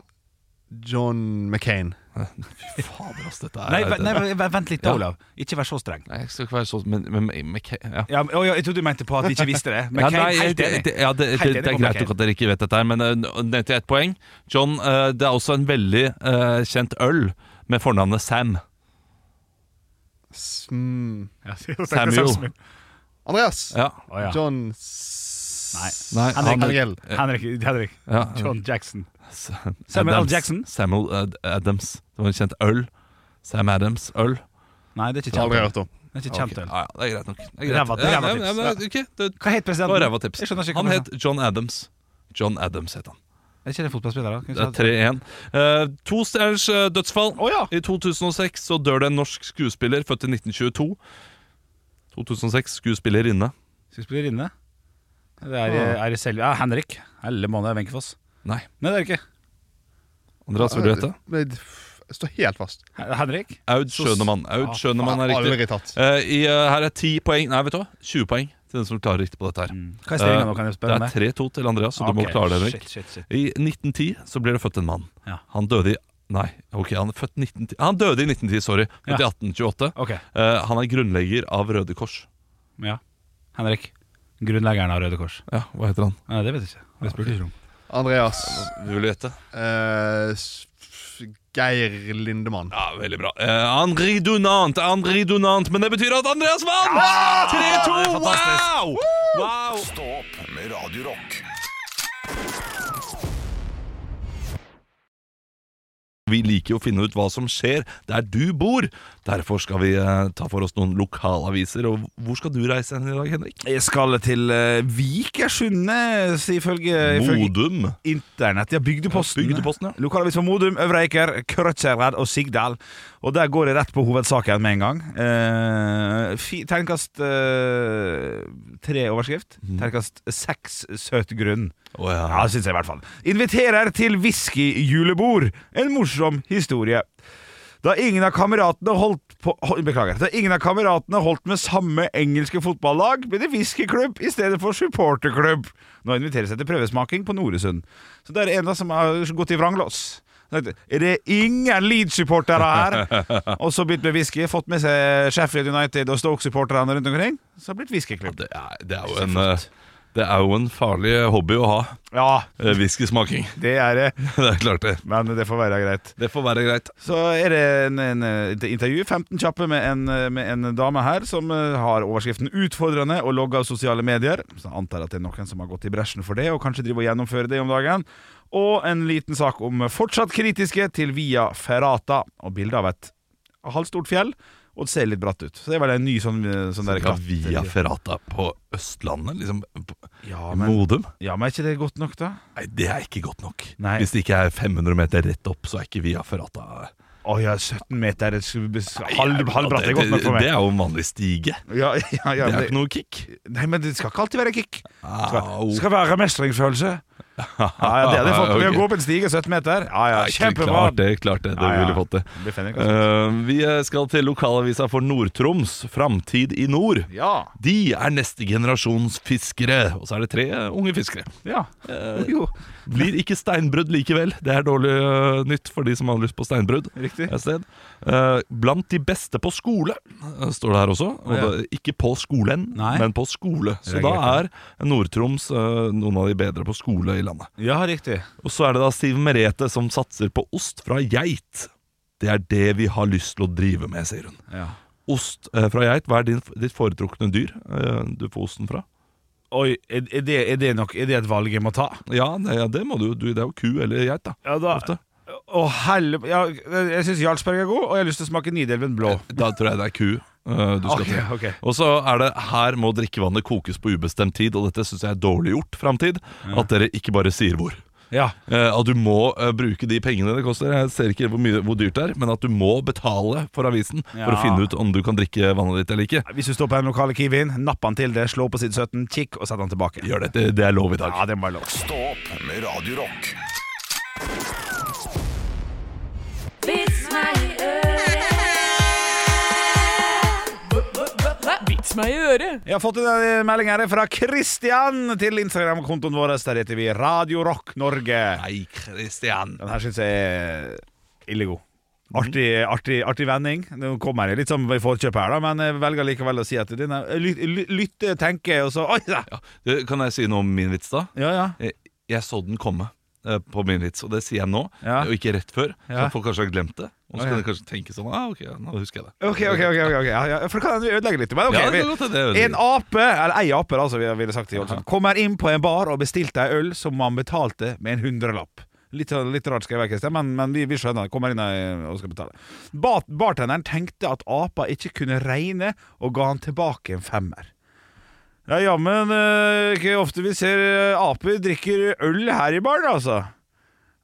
S7: John McCain.
S2: Eh, Fy fader, ass, dette er
S3: Nei, ve- nei, ve- vent litt, da,
S2: Ja.
S3: Olav. Ikke vær så streng.
S2: Nei, jeg skal ikke være så Men, men, men ja.
S3: Ja, men- å, ja, jeg trodde du mente på at vi ikke visste det. Men
S2: Ja,
S3: Kane,
S2: nei,
S3: helt
S2: det,
S3: enig.
S2: det, ja, det, det,
S3: Helt enig
S2: det er
S3: på
S2: greit
S3: McCain.
S2: nok at dere ikke vet dette, her men eh, nå- ned til ett poeng. John, eh, det er også en veldig eh, kjent øl med fornavnet Sam.
S7: Sm
S2: Samuel.
S7: Andreas.
S2: Ja,
S3: Å, ja.
S7: John
S3: Nei.
S7: S
S2: Nei,
S7: Henrik.
S2: han-
S7: Angel.
S3: Henrik, Henrik
S2: ja.
S3: John Jackson. Samuel L.
S2: Adams.
S3: Jackson?
S2: Samuel Ad Adams. Det var en kjent øl. Sam Adams. Øl.
S3: Nei, det er ikke
S7: Aldri
S3: kjent.
S7: hørt om.
S3: Det er ikke kjent
S2: Ok,
S3: øl.
S2: Ja, ja, det er greit nok. Det er greit.
S3: Ræva-
S2: Ja, ja,
S3: ræva tips.
S2: ja, men, ok, det-
S3: Hva
S2: det
S3: het
S2: var
S3: presidenten?
S2: ræva tips.
S3: Jeg skjønner ikke
S2: Han
S3: hva
S2: het John Adams. John Adams het han.
S3: Er ikke det fotballspillere? Kan vi
S2: Det er
S3: ikke ha-
S2: 3-1. Eh, to stjerners eh, dødsfall.
S3: Å, ja.
S2: I 2006 så dør det en norsk skuespiller, født i 1922. 2006, skuespillerinne.
S3: Skuespillerinne? Det er, eh, er det selv... Ja, Henrik. Helle måned, Wenchefoss.
S2: Nei,
S3: Nei, det er det ikke.
S2: Andreas, vil du hete?
S7: Nei, det- Jeg står helt fast.
S3: He- Henrik?
S2: Eh, Aud Schønemann.
S3: Ah,
S2: Aud Schønemann er riktig.
S7: Aldri tatt.
S2: Eh, i, eh, her er 10 poeng Nei, vet du hva? 20 poeng til den som klarer riktig på dette her.
S3: Hva er Mm. stillingen
S2: Eh,
S3: nå, kan jeg
S2: Det
S3: spørre om
S2: er
S3: det?
S2: 3-2 til Andreas, så du må
S3: Ok,
S2: klare det, Henrik.
S3: Shit, shit, shit.
S2: I 1910 så blir det født en mann.
S3: Ja.
S2: Han døde i Nei, ok, han, er født 1910, han døde i 1910, sorry. Født
S3: Ja.
S2: i 1828.
S3: Ok,
S2: Eh, han er grunnlegger av Røde Kors.
S3: ja. Henrik. Grunnleggeren av Røde Kors.
S2: Ja, Hva heter han?
S3: Nei, det vet jeg ikke. Det spurte jeg ikke om.
S7: Andreas
S2: Vil du gjette?
S7: eh, s- f- Geir Lindemann.
S2: Ja, Veldig bra. Eh, Henri Dunant, Henri Dunant, men det betyr at Andreas vant! 3-2! Wow! wow!
S1: Stå opp med Radio Rock.
S2: Vi liker jo å finne ut hva som skjer der du bor. Derfor skal vi eh, ta for oss noen lokalaviser. Og hvor skal du reise hen i dag, Henrik?
S3: Jeg skal til uh, Vikersundnes, ifølge, ifølge
S2: Modum.
S3: internett. Ja, Bygdeposten.
S2: Bygdeposten, ja.
S3: Lokalavis for Modum, Øvre Eiker, Krøtjered og Sigdal. Og der går jeg rett på hovedsaken med en gang. Eh, fi, terningkast eh, tre overskrift. Terningkast seks søt grunn.
S2: Å, ja.
S3: Ja, det syns jeg i hvert fall. Inviterer til whiskyjulebord. En morsom historie. Da ingen av kameratene holdt på hold- Beklager. Da ingen av kameratene holdt med samme engelske fotballag, ble det whiskyklubb i stedet for supporterklubb. Nå inviteres jeg til prøvesmaking på Noresund. Så det er en da som har gått i vranglås. Er det ingen Leeds-supportere her? Og så begynt med whisky, fått med seg Sheffield United og Stoke-supporterne rundt omkring. Så har det blitt whiskyklubb.
S2: Det, er, det, er jo en, eh, det er jo en farlig eh, hobby å ha.
S3: Ja,
S2: eh, Whiskysmaking.
S3: det er det.
S2: det er klart, det.
S3: Men det får være greit.
S2: Det får være greit.
S3: Så er det en, en, et intervju, 15 kjappe, med en, med en dame her som eh, har overskriften 'Utfordrende å logge av sosiale medier'. Så jeg antar at det er noen som har gått i bresjen for det, og kanskje driver og gjennomfører det om dagen. Og en liten sak om fortsatt kritiske til Via Ferrata, og bilde av et halvstort fjell. Og det ser litt bratt ut. Så det er vel en ny sånn, eh, sånn der
S2: Ja, via Ferrata på Østlandet? Liksom på-
S3: Ja,
S2: i
S3: men,
S2: Modum?
S3: ja, men er ikke det godt nok, da?
S2: Nei, det er ikke godt nok.
S3: Nei.
S2: Hvis det ikke er 500 meter rett opp, så er ikke via Ferrata
S3: Å ja, 17 meter det skulle bes- halv,
S2: Ja,
S3: halv bratt er godt nok for
S2: Det
S3: meg.
S2: er jo en vanlig stige.
S3: Ja,
S2: Det
S3: ja, ja,
S2: er
S3: men
S2: ikke
S3: det,
S2: noe kick. Ah, oh,
S3: nei, men det skal ikke alltid være kick.
S2: Au.
S3: Skal, skal være mestringsfølelse. Ja, ja, det hadde jeg fått. Ved å
S2: Ok.
S3: gå opp en stige 17 meter. Ja, ja,
S2: Nei,
S3: Kjempebra.
S2: Klart det, klart det. Det
S3: Ja, ja.
S2: ville fått det.
S3: Det finner jeg kanskje.
S2: Eh, vi skal til lokalavisa for Nord-Troms, Framtid i nord.
S3: Ja.
S2: De er neste generasjons fiskere. Og så er det tre eh, unge fiskere.
S3: ja. Eh, Jo,
S2: Blir ikke steinbrudd likevel. Det er dårlig eh, nytt for de som har lyst på steinbrudd.
S3: Riktig.
S2: Et sted. Eh, blant de beste på skole, eh, står det her også. Og
S3: Ja.
S2: det, ikke på skolen,
S3: Nei.
S2: men på skole. Så
S3: Det er
S2: da
S3: greit,
S2: er Nord-Troms eh, noen av de bedre på skole i landet.
S3: ja, riktig.
S2: Og så er det da Siv Merete som satser på ost fra geit. Det er det vi har lyst til å drive med, sier hun.
S3: Ja.
S2: Ost eh, fra geit, hva er din, ditt foretrukne dyr eh, du får osten fra?
S3: Oi, er er det, er, det nok, er det et valg jeg må ta?
S2: Ja, det, ja, det må du, du. Det er jo ku eller geit, da.
S3: Ja, da
S2: Ofte.
S3: Å, helle... Ja, jeg syns Jarlsberg er god, og jeg har lyst til å smake Nidelven blå.
S2: Da tror jeg det er ku eh, du skal
S3: Ok,
S2: til.
S3: ok.
S2: Og så er det her må drikkevannet kokes på ubestemt tid, og dette syns jeg er dårlig gjort, framtid. At dere ikke bare sier hvor.
S3: Ja.
S2: Eh, at du må eh, bruke de pengene det koster. Jeg ser ikke hvor, mye, hvor dyrt det er, men at du må betale for avisen for å
S3: Ja.
S2: finne ut om du kan drikke vannet ditt eller ikke.
S3: Hvis du står på den lokale Kiwien, napp han til det, slå på side 17, kikk, og sett han tilbake.
S2: Gjør det. Det, det er lov i dag.
S3: Ja, det må være lov.
S1: Stå opp med Radio Rock.
S4: Vits meg i øret. Vits meg i øret.
S3: Jeg har fått en eh, melding her fra Christian til Instagram-kontoen vår. Der heter vi Radio Rock Norge.
S2: Nei, Christian.
S3: Den her syns jeg er ille god. Artig, artig, artig vending. Nå kommer jeg litt som i forkjøpet her, da, men jeg velger likevel å si at den er ly- ly- lytte, tenke, og så Oi! Da.
S2: Ja. Du, Kan jeg si noe om min vits, da?
S3: Ja, ja.
S2: Jeg, Eh, jeg så den komme eh, på min vits, og det sier jeg nå,
S3: Ja.
S2: og ikke rett før.
S3: Ja.
S2: Så folk kanskje har glemt det. Og
S3: Å,
S2: så
S3: ja.
S2: kan de kanskje tenke sånn ah, Ok, nå husker jeg det.
S3: OK, OK, ok, ok, ok. Ja, ja, for da kan den ødelegge litt. Men ok,
S2: Ja, det
S3: vi-
S2: kan godt hende jeg ødelegger.
S3: en ape, eller ei ape, da, som vi ville sagt i Ålesund, kommer inn på en bar og bestilte ei øl som han betalte med en hundrelapp. Litt, sånn, litt rart skrevet, Kristian, men, men vi, vi skjønner det. Kommer inn eh, og skal betale. Ba- bartenderen tenkte at apa ikke kunne regne, og ga han tilbake en femmer. Det er jammen eh, ikke ofte vi ser eh, aper drikker øl her i baren, altså.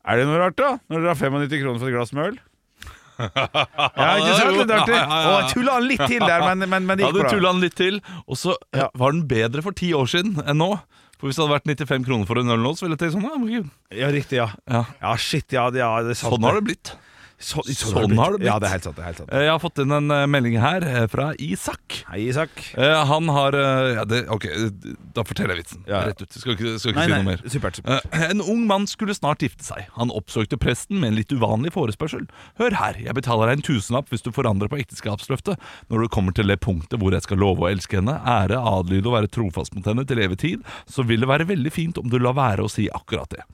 S3: Er det noe rart, da? Når dere har 95 kroner for et glass med øl? Ja, ikke sant? Litt artig.
S2: Ja, ja, ja.
S3: Å, jeg tulla han litt til der, men, men, men det
S2: Ja, du
S3: gikk
S2: tulla
S3: bra.
S2: den litt til, og så eh,
S3: Ja.
S2: var den bedre for ti år siden enn nå. For hvis det hadde vært 95 kroner for en øl nå, så ville jeg tenkt sånn ja, men gud.
S3: Ja, riktig, ja.
S2: ja.
S3: Ja, shit, ja, det- ja det er sant.
S2: Sånn har det blitt.
S3: Så,
S2: sånn har det blitt.
S3: Ja, det er helt sant. Det er helt sant.
S2: Eh, Jeg har fått inn en eh, melding her eh, fra Isak.
S3: Hei, Isak.
S2: Eh, Han har eh, ja, det, Ok, eh, da forteller jeg vitsen.
S3: Ja, ja.
S2: Rett ut. Skal ikke, skal ikke si noe mer.
S3: Supert. supert.
S2: Eh, En ung mann skulle snart gifte seg. Han oppsøkte presten med en litt uvanlig forespørsel. Hør her, jeg betaler deg en tusenlapp hvis du forandrer på ekteskapsløftet. Når du kommer til det punktet hvor jeg skal love å elske henne, ære, adlyde og være trofast mot henne til evig tid, så vil det være veldig fint om du lar være å si akkurat det.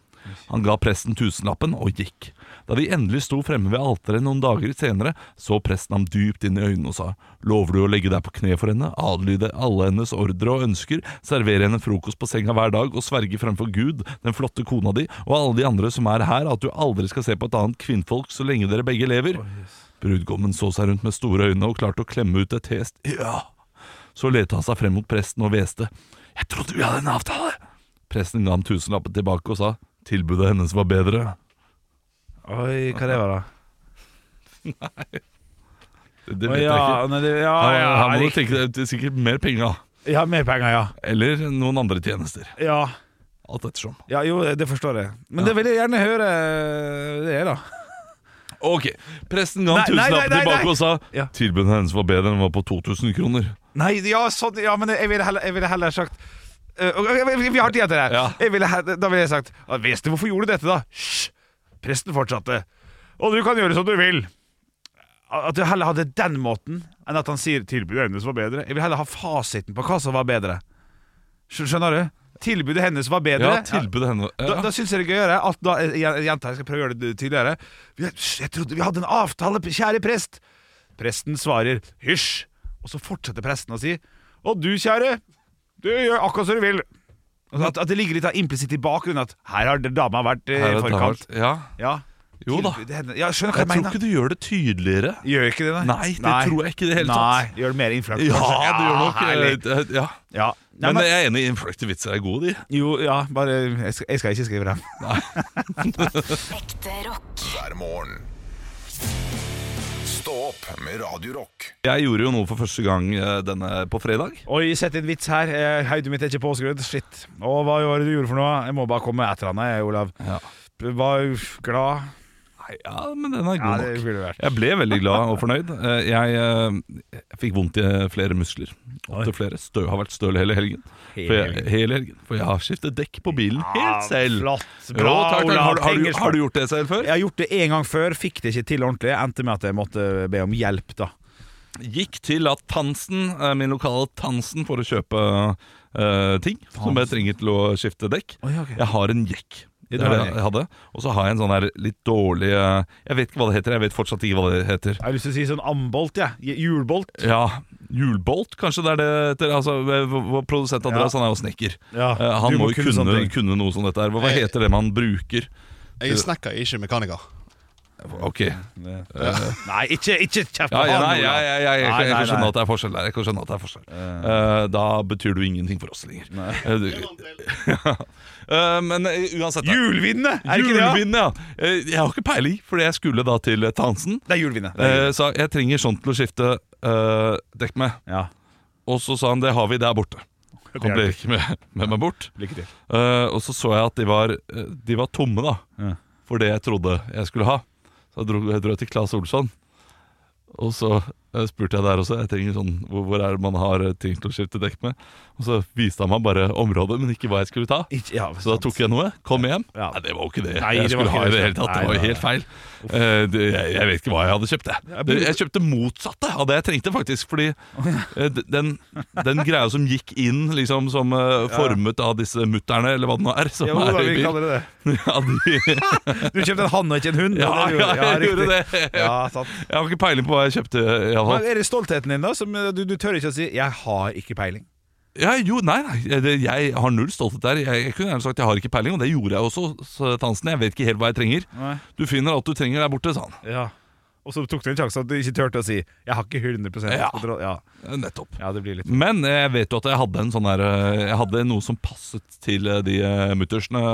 S2: Han ga presten tusenlappen og gikk. Da de endelig sto fremme ved alteret noen dager senere, så presten ham dypt inn i øynene og sa Lover du å legge deg på kne for henne, adlyde alle hennes ordre og ønsker, servere henne frokost på senga hver dag og sverge fremfor Gud, den flotte kona di og alle de andre som er her, at du aldri skal se på et annet kvinnfolk så lenge dere begge lever? Brudgommen så seg rundt med store øyne og klarte å klemme ut et hest ja. Så lette han seg frem mot presten og hveste. Jeg trodde vi hadde en avtale! Presten ga ham tusenlappen tilbake og sa tilbudet hennes var bedre.
S3: Oi, hva det var da?
S2: Det, det
S3: Å,
S2: vet
S3: ja,
S2: jeg ikke.
S3: nei, det, ja,
S2: Han,
S3: ja,
S2: han må
S3: riktig.
S2: tenke det er sikkert mer penger, da.
S3: ja, mer penger, ja.
S2: Eller noen andre tjenester.
S3: Ja,
S2: Alt ettersom.
S3: ja jo, det forstår jeg. Men det vil jeg gjerne høre eh, det er, da.
S2: Ok, Presten ga ham
S3: Nei, nei, nei,
S2: tusenlappen
S3: nei,
S2: tilbake
S3: nei.
S2: og sa
S3: Ja.
S2: tilbudet hennes var bedre enn den var på 2000 kroner.
S3: Nei, ja, sånn, ja men jeg ville heller, jeg ville heller sagt Eh, ok, vi- vi- Vi har tid til det her.
S2: Ja.
S3: Jeg ville, he- da ville jeg sagt «Ja, Veste, hvorfor gjorde du dette, da? Hysj! Presten fortsatte. Og du kan gjøre som du vil. At du heller hadde den måten enn at han sier tilbudet hennes var bedre. Jeg vil heller ha fasiten på hva som var bedre. Skj- Skjønner du? Tilbudet hennes var bedre.
S2: Ja, tilbudet hennes
S3: Da, da
S2: ja.
S3: syns jeg det er gøyere at da, jeg, jeg gjentar, jeg skal prøve å gjøre det tydeligere. Jeg, jeg trodde vi hadde en avtale, kjære prest. Presten svarer hysj, og så fortsetter presten å si og du, kjære, du gjør akkurat som du vil. Altså at, at det ligger litt av implisitt i bakgrunnen at her har dama vært eh,
S2: Her
S3: i
S2: er
S3: forkant.
S2: tavert. Ja.
S3: Ja.
S2: Jo da.
S3: Tilbudet henne- Ja, skjønner hva
S2: Jeg
S3: jeg,
S2: tror
S3: mener.
S2: ikke du gjør det tydeligere.
S3: Gjør ikke det,
S2: Nei, det tror jeg ikke i det hele
S3: Nei,
S2: tatt.
S3: gjør det mer innfløkt.
S2: Ja, du gjør nok
S3: herlig.
S2: eh, ja.
S3: Ja. Nei,
S2: Men eh,
S3: men,
S2: jeg er enig, infløkte vitser er gode, de.
S3: jo, ja, bare Jeg skal, jeg skal ikke skrive dem.
S4: Ekte rock.
S1: hver morgen. Stå opp med Radio Rock.
S2: Jeg gjorde jo noe for første gang eh, denne på fredag.
S3: Oi, sett en vits her. Eh, Hodet mitt er ikke påskrudd. Shit. Å, hva var det du gjorde for noe? Jeg må bare komme med et eller annet, jeg, Olav.
S2: Ja.
S3: Var uff, glad.
S2: Nei, ja, men den er
S3: Ja,
S2: god
S3: det
S2: nok.
S3: ville vært.
S2: Jeg ble veldig glad og fornøyd. Eh, Jeg, eh, jeg fikk vondt i flere muskler. Opp til flere. Stø, har vært støl hele helgen. For jeg, hele helgen. For jeg har skiftet dekk på bilen helt selv.
S3: Flott.
S2: Jo,
S3: Bra,
S2: takk, takk.
S3: Olav.
S2: Har, har, du,
S3: Penger
S2: har
S3: spart.
S2: du gjort det selv før?
S3: Jeg har gjort det en gang før, fikk det ikke til ordentlig. Endte med at jeg måtte be om hjelp, da.
S2: Gikk til at Tansen, eh, min lokale Tansen, for å kjøpe eh, ting som jeg trenger til å skifte dekk.
S3: Oi, ok.
S2: Jeg har en jekk.
S3: Ja,
S2: Det
S3: du
S2: er
S3: har
S2: det
S3: en jekk.
S2: jeg hadde. Og så har jeg en sånn her litt dårlig eh, Jeg vet ikke hva det heter. Jeg vet fortsatt ikke hva det heter.
S3: Jeg har lyst til å si sånn ambolt, jeg. Ja. Hjulbolt.
S2: Ja, Hjulbolt, kanskje det er det heter. Altså, v- v- produsent Andreas han er jo snekker.
S3: Ja,
S2: Eh, han
S3: du
S2: må
S3: må
S2: jo
S3: kunne sånne
S2: kunne,
S3: ting.
S2: kunne noe som dette her. Hva hva heter det man bruker?
S7: Jeg er snekker, ikke mekaniker.
S2: Ok.
S3: Nei, ikke, ikke kjeft på
S2: Ja, ja,
S3: han,
S2: nei, ja,
S3: Olav.
S2: ja, ja, jeg, kan- jeg
S3: Nei,
S2: kan
S3: nei,
S2: skjønne
S3: nei.
S2: at det er forskjell der. Jeg kan skjønne at det er forskjell Eh, Da betyr du ingenting for oss lenger. Eh, du- Ja. Eh, Men eh, uansett da.
S3: Hjulvinne! Er det ikke det? ja?
S2: Hjulvind, ja! Eh, Jeg har ikke peiling, fordi jeg skulle da til eh, Tansen.
S3: Det er hjulvinne. Det er hjulvinne.
S2: Eh, Sa jeg trenger sånn til å skifte eh, dekk med.
S3: Ja.
S2: Og så sa han det har vi der borte. Han ble ikke med, med meg bort.
S3: Lykke til.
S2: Eh, og så så jeg at de var, eh, de var tomme, da.
S3: Ja.
S2: For det jeg trodde jeg skulle ha. Så jeg dro, jeg dro til Claes Olsson. Og så eh, spurte jeg der også. Jeg trenger sånn, hvor, hvor er det man har eh, ting til å skifte dekk med? Og så viste han meg bare området, men ikke hva jeg skulle ta.
S3: Ikke, ja,
S2: Så da tok jeg noe, kom hjem.
S3: Ja.
S2: Nei, det var jo ikke det
S3: Nei,
S2: jeg
S3: det var
S2: skulle
S3: ikke
S2: ha i
S3: det.
S2: det hele tatt.
S3: Nei,
S2: det var jo
S3: nei,
S2: helt feil. Eh, det, jeg, jeg vet ikke hva jeg hadde kjøpt, jeg. Det- Jeg kjøpte motsatte av det jeg trengte, faktisk. Fordi eh, d- den, den greia som gikk inn, liksom som eh, formet av disse mutterne, eller hva det nå er, som
S3: Ja, Olav,
S2: er i
S3: vi
S2: bil
S3: kaller det det.
S2: ja, de,
S3: Du kjøpte en hann og ikke en hund?
S2: ja, ja,
S3: og det gjorde-
S2: jeg gjorde
S3: riktig.
S2: det.
S3: Ja, sant.
S2: Jeg har ikke peiling på hva jeg kjøpte,
S3: Men
S2: iallfall.
S3: er det stoltheten din, da? Som eh, du, du tør ikke å si 'jeg har ikke peiling'?
S2: Ja, jo, nei, nei, det- jeg har null stolthet der. Jeg, jeg kunne gjerne sagt jeg har ikke peiling, og det gjorde jeg også. sa Tansen, jeg vet ikke helt hva jeg trenger.
S3: Nei.
S2: Du finner alt du trenger der borte, sa han.
S3: Ja. Og så tok du en sjanse at du ikke turte å si 'jeg har ikke 100
S2: Ja.
S3: kontroll'. Ja.
S2: Eh, Nettopp.
S3: ja, det blir litt
S2: Men jeg vet jo at jeg hadde en sånn der eh, Jeg hadde noe som passet til eh, de eh, muttersene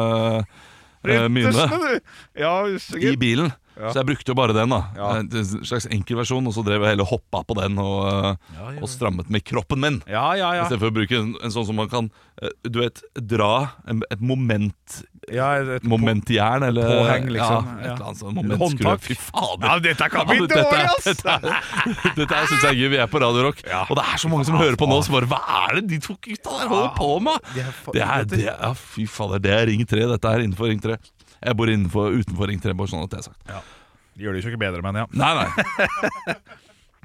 S2: eh, mine
S3: Tørstende, du. Ja,
S2: i
S3: sikkert.
S2: bilen.
S3: Ja.
S2: Så jeg brukte jo bare den, da. Eh,
S3: Ja.
S2: En slags enkel versjon, og så drev jeg heller hoppa på den og, eh,
S3: Ja, ja.
S2: og strammet med kroppen min.
S3: Ja, ja,
S2: I
S3: ja.
S2: stedet for å bruke en, en sånn som man kan eh, Du vet, dra en, et moment
S3: ja et
S2: Momentjern eller
S3: Påheng, liksom.
S2: ja, Et
S3: Ja.
S2: eller annet sånt
S3: Håndtak.
S2: Håndtak Fy fader
S3: Ja, dette kan bli
S2: Ja, dette-
S3: dårlig, ass!
S2: Dette, er- dette her synes jeg er gøy Vi er på Radio Rock Og det er så mange som hører på nå Som bare, hva er det de to gutta der holder på med?
S3: de er fa-
S2: Det er, det er, ja, fy fader Det er Ring 3, dette er innenfor Ring 3 Jeg bor innenfor, utenfor Ring 3 Bare sånn at det er sagt
S3: Gjør det jo ikke bedre, men ja.
S2: Nei, nei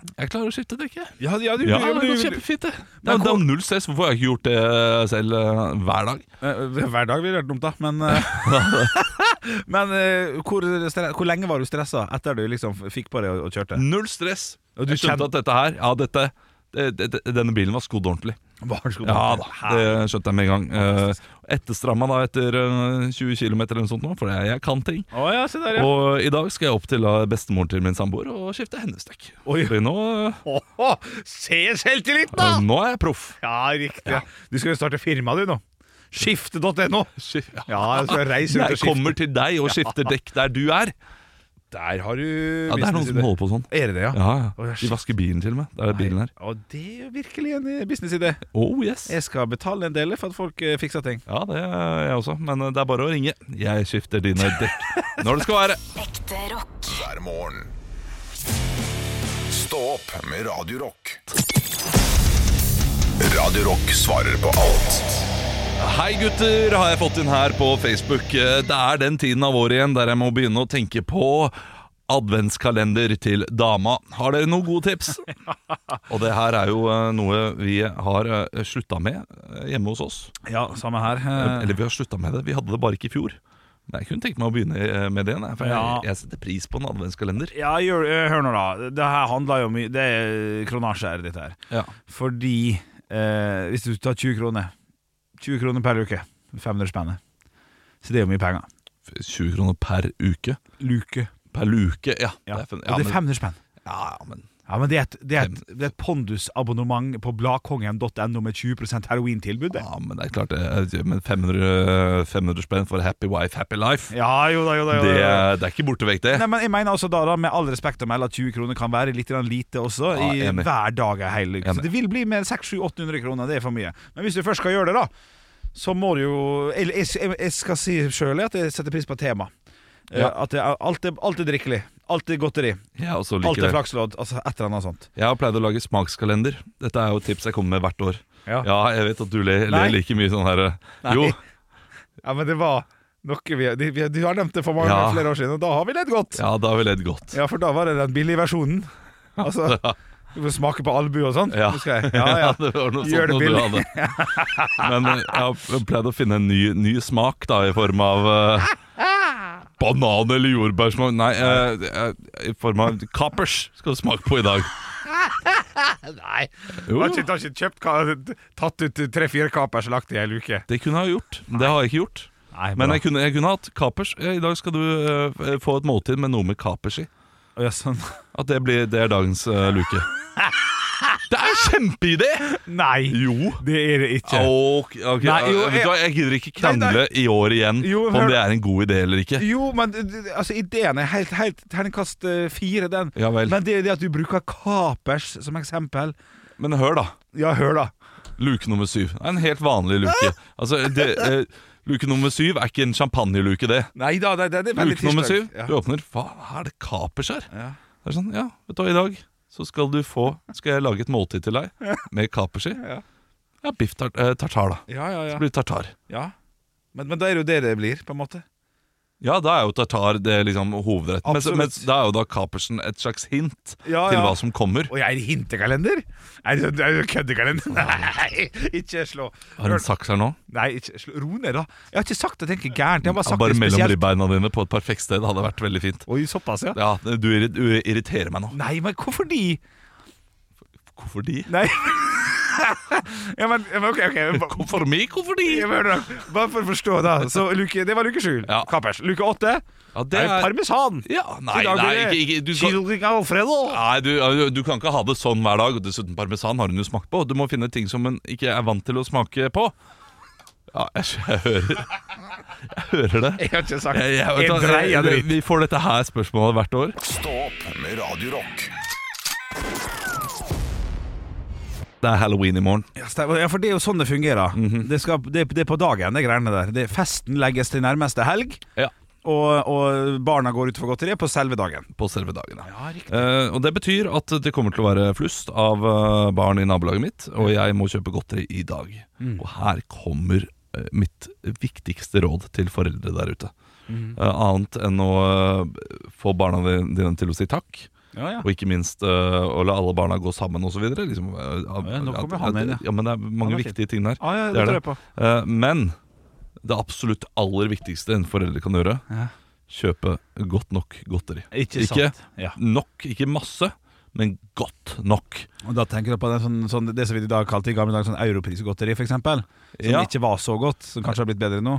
S2: Jeg klarer å skifte drikke
S3: Ja, ja, du,
S2: Ja,
S3: ja, men
S2: det
S3: du,
S2: går kjempefint det Det er- det er null stress Hvorfor har jeg ikke gjort det selv eh, hver dag?
S3: Eh, Hver dag ville vært dumt, da. Men, eh, men eh, hvor, stre- hvor lenge var du stressa etter du liksom fikk på det og, og kjørte?
S2: Null stress
S3: Og du
S2: Jeg skjønte
S3: kjenner-
S2: at dette her Ja, dette det- det- det- Denne bilen var skodd ordentlig
S3: Var det så-
S2: Mm. Ja da, det skjønte jeg med en gang. Eh, Etterstramma da etter eh, 20 km eller noe sånt, nå, for jeg, jeg kan ting.
S3: Å ja, se der, ja.
S2: Og i dag skal jeg opp til eh, bestemoren til min samboer og skifte hennes dekk.
S3: Oi.
S2: For nå,
S3: Åhå, se selvtilliten,
S2: eh,
S3: da!
S2: nå er jeg proff.
S3: Ja, riktig. Du skal jo starte firma, du, nå. Skifte.no. Ja, jeg skal reise ut og
S2: Jeg
S3: skifte.
S2: kommer til deg og skifter dekk der du er.
S3: Der har du
S2: Ja, Det er noen som holder på sånn.
S3: Er det det, ja?
S2: Ja,
S3: Å, ja,
S2: ja.
S3: shit.
S2: De vasker bilen til og med. Der er bilen her.
S3: Og det er jo virkelig en eh, businessidé.
S2: Oh yes.
S3: Jeg skal betale en del for at folk eh, fikser ting.
S2: Ja, det er jeg også. Men eh, det er bare å ringe. Jeg skifter dine dekk når det skal være.
S4: Ekte rock.
S1: hver morgen. Stå opp med Radio Rock. Radio Rock svarer på alt
S2: Hei gutter, har jeg fått inn her på Facebook. Eh, Det er den tiden av året igjen der jeg må begynne å tenke på adventskalender til dama. Har dere noen gode tips? Og det her er jo eh, noe vi har eh, slutta med eh, hjemme hos oss.
S3: Ja, samme her.
S2: Eh, Eller vi har slutta med det, vi hadde det bare ikke i fjor. Men jeg kunne tenkt meg å begynne eh, med det, nei, for
S3: Ja.
S2: jeg, jeg setter pris på en adventskalender.
S3: Ja, gjør, eh, hør nå da Det her handler jo om Det er kronasje her dette her
S2: Ja.
S3: Fordi eh, Hvis du tar 20 kroner 20 kroner per uke 500 spennet Så det er jo mye penger
S2: 20 kroner per uke.
S3: Luke
S2: Per luke, ja.
S3: Ja,
S2: Det er, fem-
S3: Og
S2: ja,
S3: det er
S2: men,
S3: 500 spenn
S2: ja, ja, men
S3: Ja, men det er et, det er et, det er et pondusabonnement På bladkongen.no med 20% herointilbud det.
S2: Ja, men det er klart eh, det. Men 500, 500 spenn for happy wife, happy life.
S3: Ja, jo da, jo da, jo da,
S2: Det,
S3: jo da.
S2: det er ikke borte vekk, det.
S3: Nei, men jeg mener også da, da Med all respekt å melde at 20 kroner kan være litt grann lite også
S2: Ja,
S3: I
S2: enig.
S3: hver dag er hele uke Så
S2: Enig.
S3: det vil bli med 600-800 kroner Det er for mye Men hvis du først skal gjøre det da Så må du jo Eller jeg, jeg, jeg skal si selv at jeg setter pris på tema Eh,
S2: Ja.
S3: At det er, alt, er, alt er drikkelig Alt er godteri
S2: Jeg også
S3: Alt
S2: liker
S3: er
S2: det.
S3: flakslodd Altså et eller annet sånt
S2: Jeg har pleid å lage smakskalender. Dette er jo et tips jeg kommer med hvert år.
S3: Ja.
S2: Ja, jeg vet at du ler,
S3: Nei.
S2: ler like mye sånn her
S3: Nei.
S2: Jo,
S3: Ja, men det var noe vi, de- vi Du har nevnt det for mange
S2: Ja.
S3: flere år siden Og da har vi lett godt
S2: ja, da har vi ledd godt.
S3: Ja, for da var det den billige versjonen Altså Du får smake på albu og sånn
S2: Ja.
S3: husker jeg. ja, ja.
S2: det var noe
S3: Gjør
S2: sånt noe
S3: det
S2: du
S3: billig.
S2: hadde. Men eh, jeg har pleid å finne en ny, ny smak, da, i form av eh, Banan eller jordbærsmak Nei, eh, eh, i form av kapers skal du smake på i dag.
S3: Nei,
S2: Jo,
S3: du har ikke, du har ikke kjøpt ka- Tatt ut tre-fire kapers lagt i en uke
S2: Det kunne jeg ha gjort. men Det har jeg ikke gjort.
S3: Nei,
S2: Men jeg kunne, jeg kunne hatt kapers. Eh, I dag skal du eh, få et måltid med noe med kapers i.
S3: ja, sånn.
S2: At det, blir, det er dagens eh, luke. Det er en kjempeidé!
S3: Nei,
S2: Jo.
S3: det er det ikke
S2: Ah, Ok, ok,
S3: Nei, jo,
S2: eh, vet du hva, jeg gidder ikke
S3: Nei,
S2: krangle
S3: nei.
S2: i år igjen
S3: Jo,
S2: om
S3: hør-
S2: det er en god idé eller ikke.
S3: Jo, men d- d- altså, ideen er helt, helt Terningkast eh, fire den
S2: Ja vel.
S3: Men det er det at du bruker kapers som eksempel
S2: Men hør, da.
S3: Ja, hør da
S2: Luke nummer syv. Det er en helt vanlig luke. Altså, det, eh, luke nummer syv er ikke en champagneluke, det.
S3: Nei da, det, det, det er veldig
S2: Luke nummer syv,
S3: tirsdag.
S2: du åpner Hva er det kapers her?
S3: Ja.
S2: Det er sånn, ja, vet du hva, i dag så skal du få Skal jeg lage et måltid til deg med kapers i.
S3: Ja.
S2: Ja, biff tar eh, tartar, da.
S3: Ja, ja, ja,
S2: Det blir tartar.
S3: ja. Men, men da er det jo det det blir, på en måte
S2: Ja, da er jo tartar det er liksom hovedretten. Mens,
S3: Absolutt.
S2: mens da er jo da kapersen et slags hint
S3: Ja,
S2: til
S3: ja.
S2: hva som kommer.
S3: Og jeg er i hintekalender Er det, er det køddekalender? Nei, ikke slå
S2: Har hun
S3: Hør-
S2: saks her nå?
S3: Nei, ikke slå Ro ned da Jeg har ikke sagt det, tenker gærent Jeg har bare
S2: Ja,
S3: sagt
S2: bare
S3: det
S2: mellom
S3: spesielt
S2: ribbeina dine på et perfekt sted hadde vært veldig fint.
S3: Oi, såpass, ja.
S2: Ja, du, irri- du irriterer meg nå.
S3: Nei, men hvorfor de?
S2: Hvorfor de?
S3: Nei, Ja, men, ja, men ok, ok ba-
S2: Hvorfor meg, hvorfor de?
S3: ja, men hør nå. Bare for å forstå, da. Så luke, det var luke sju.
S2: Ja.
S3: Kappers. Luke åtte
S2: Ja, det
S3: det er
S2: er-
S3: parmesan.
S2: Ja,
S3: I
S2: nei,
S3: dag
S2: nei,
S3: blir
S2: ikke,
S3: det
S2: ikke du kan,
S3: Kylling Alfredo.
S2: Nei, du, du- du kan ikke ha det sånn hver dag. Og dessuten, parmesan har hun jo smakt på. Du må finne ting som hun ikke er vant til å smake på. Ja, jeg, jeg hører Jeg hører det.
S3: Jeg har ikke sagt
S2: Jeg, jeg,
S3: En
S2: vet du hva,
S3: dreia dritt.
S2: vi får dette her spørsmålet hvert år.
S1: Stå opp med Radio Rock.
S2: Det er halloween i morgen.
S3: Ja, stemmer. Ja, for det er jo sånn det fungerer. det, skal, det, det er på dagen, det greiene der. Det, festen legges til nærmeste helg,
S2: Ja,
S3: og, og barna går ut for godteri på selve dagen.
S2: På selve dagen. Ja.
S3: Ja, riktig.
S2: Eh, og Det betyr at det kommer til å være flust av eh, barn i nabolaget mitt, og jeg må kjøpe godteri i dag.
S3: Mm.
S2: Og her kommer eh, mitt viktigste råd til foreldre der ute.
S3: Mm.
S2: Eh, annet enn å eh, få barna di- dine til å si takk.
S3: Ja, ja.
S2: Og ikke minst eh, å la alle barna gå sammen osv. Liksom, eh,
S3: ja, nå
S2: at-
S3: kommer han inn, ja.
S2: at- ja. Men det er mange
S3: var fin.
S2: viktige ting der.
S3: Ah, ja, det
S2: er
S3: tror jeg på.
S2: Eh, men det absolutt aller viktigste en forelder kan gjøre,
S3: Ja.
S2: kjøpe godt nok godteri.
S3: Ikke
S2: ikke
S3: sant, ja.
S2: nok, ikke masse, men godt nok.
S3: Og da tenker du på det, sånn, sånn, det som vi i dag kalte i gamle dager sånn europrisgodteri, f.eks. Som
S2: Ja.
S3: ikke var så godt, som kanskje har blitt bedre nå.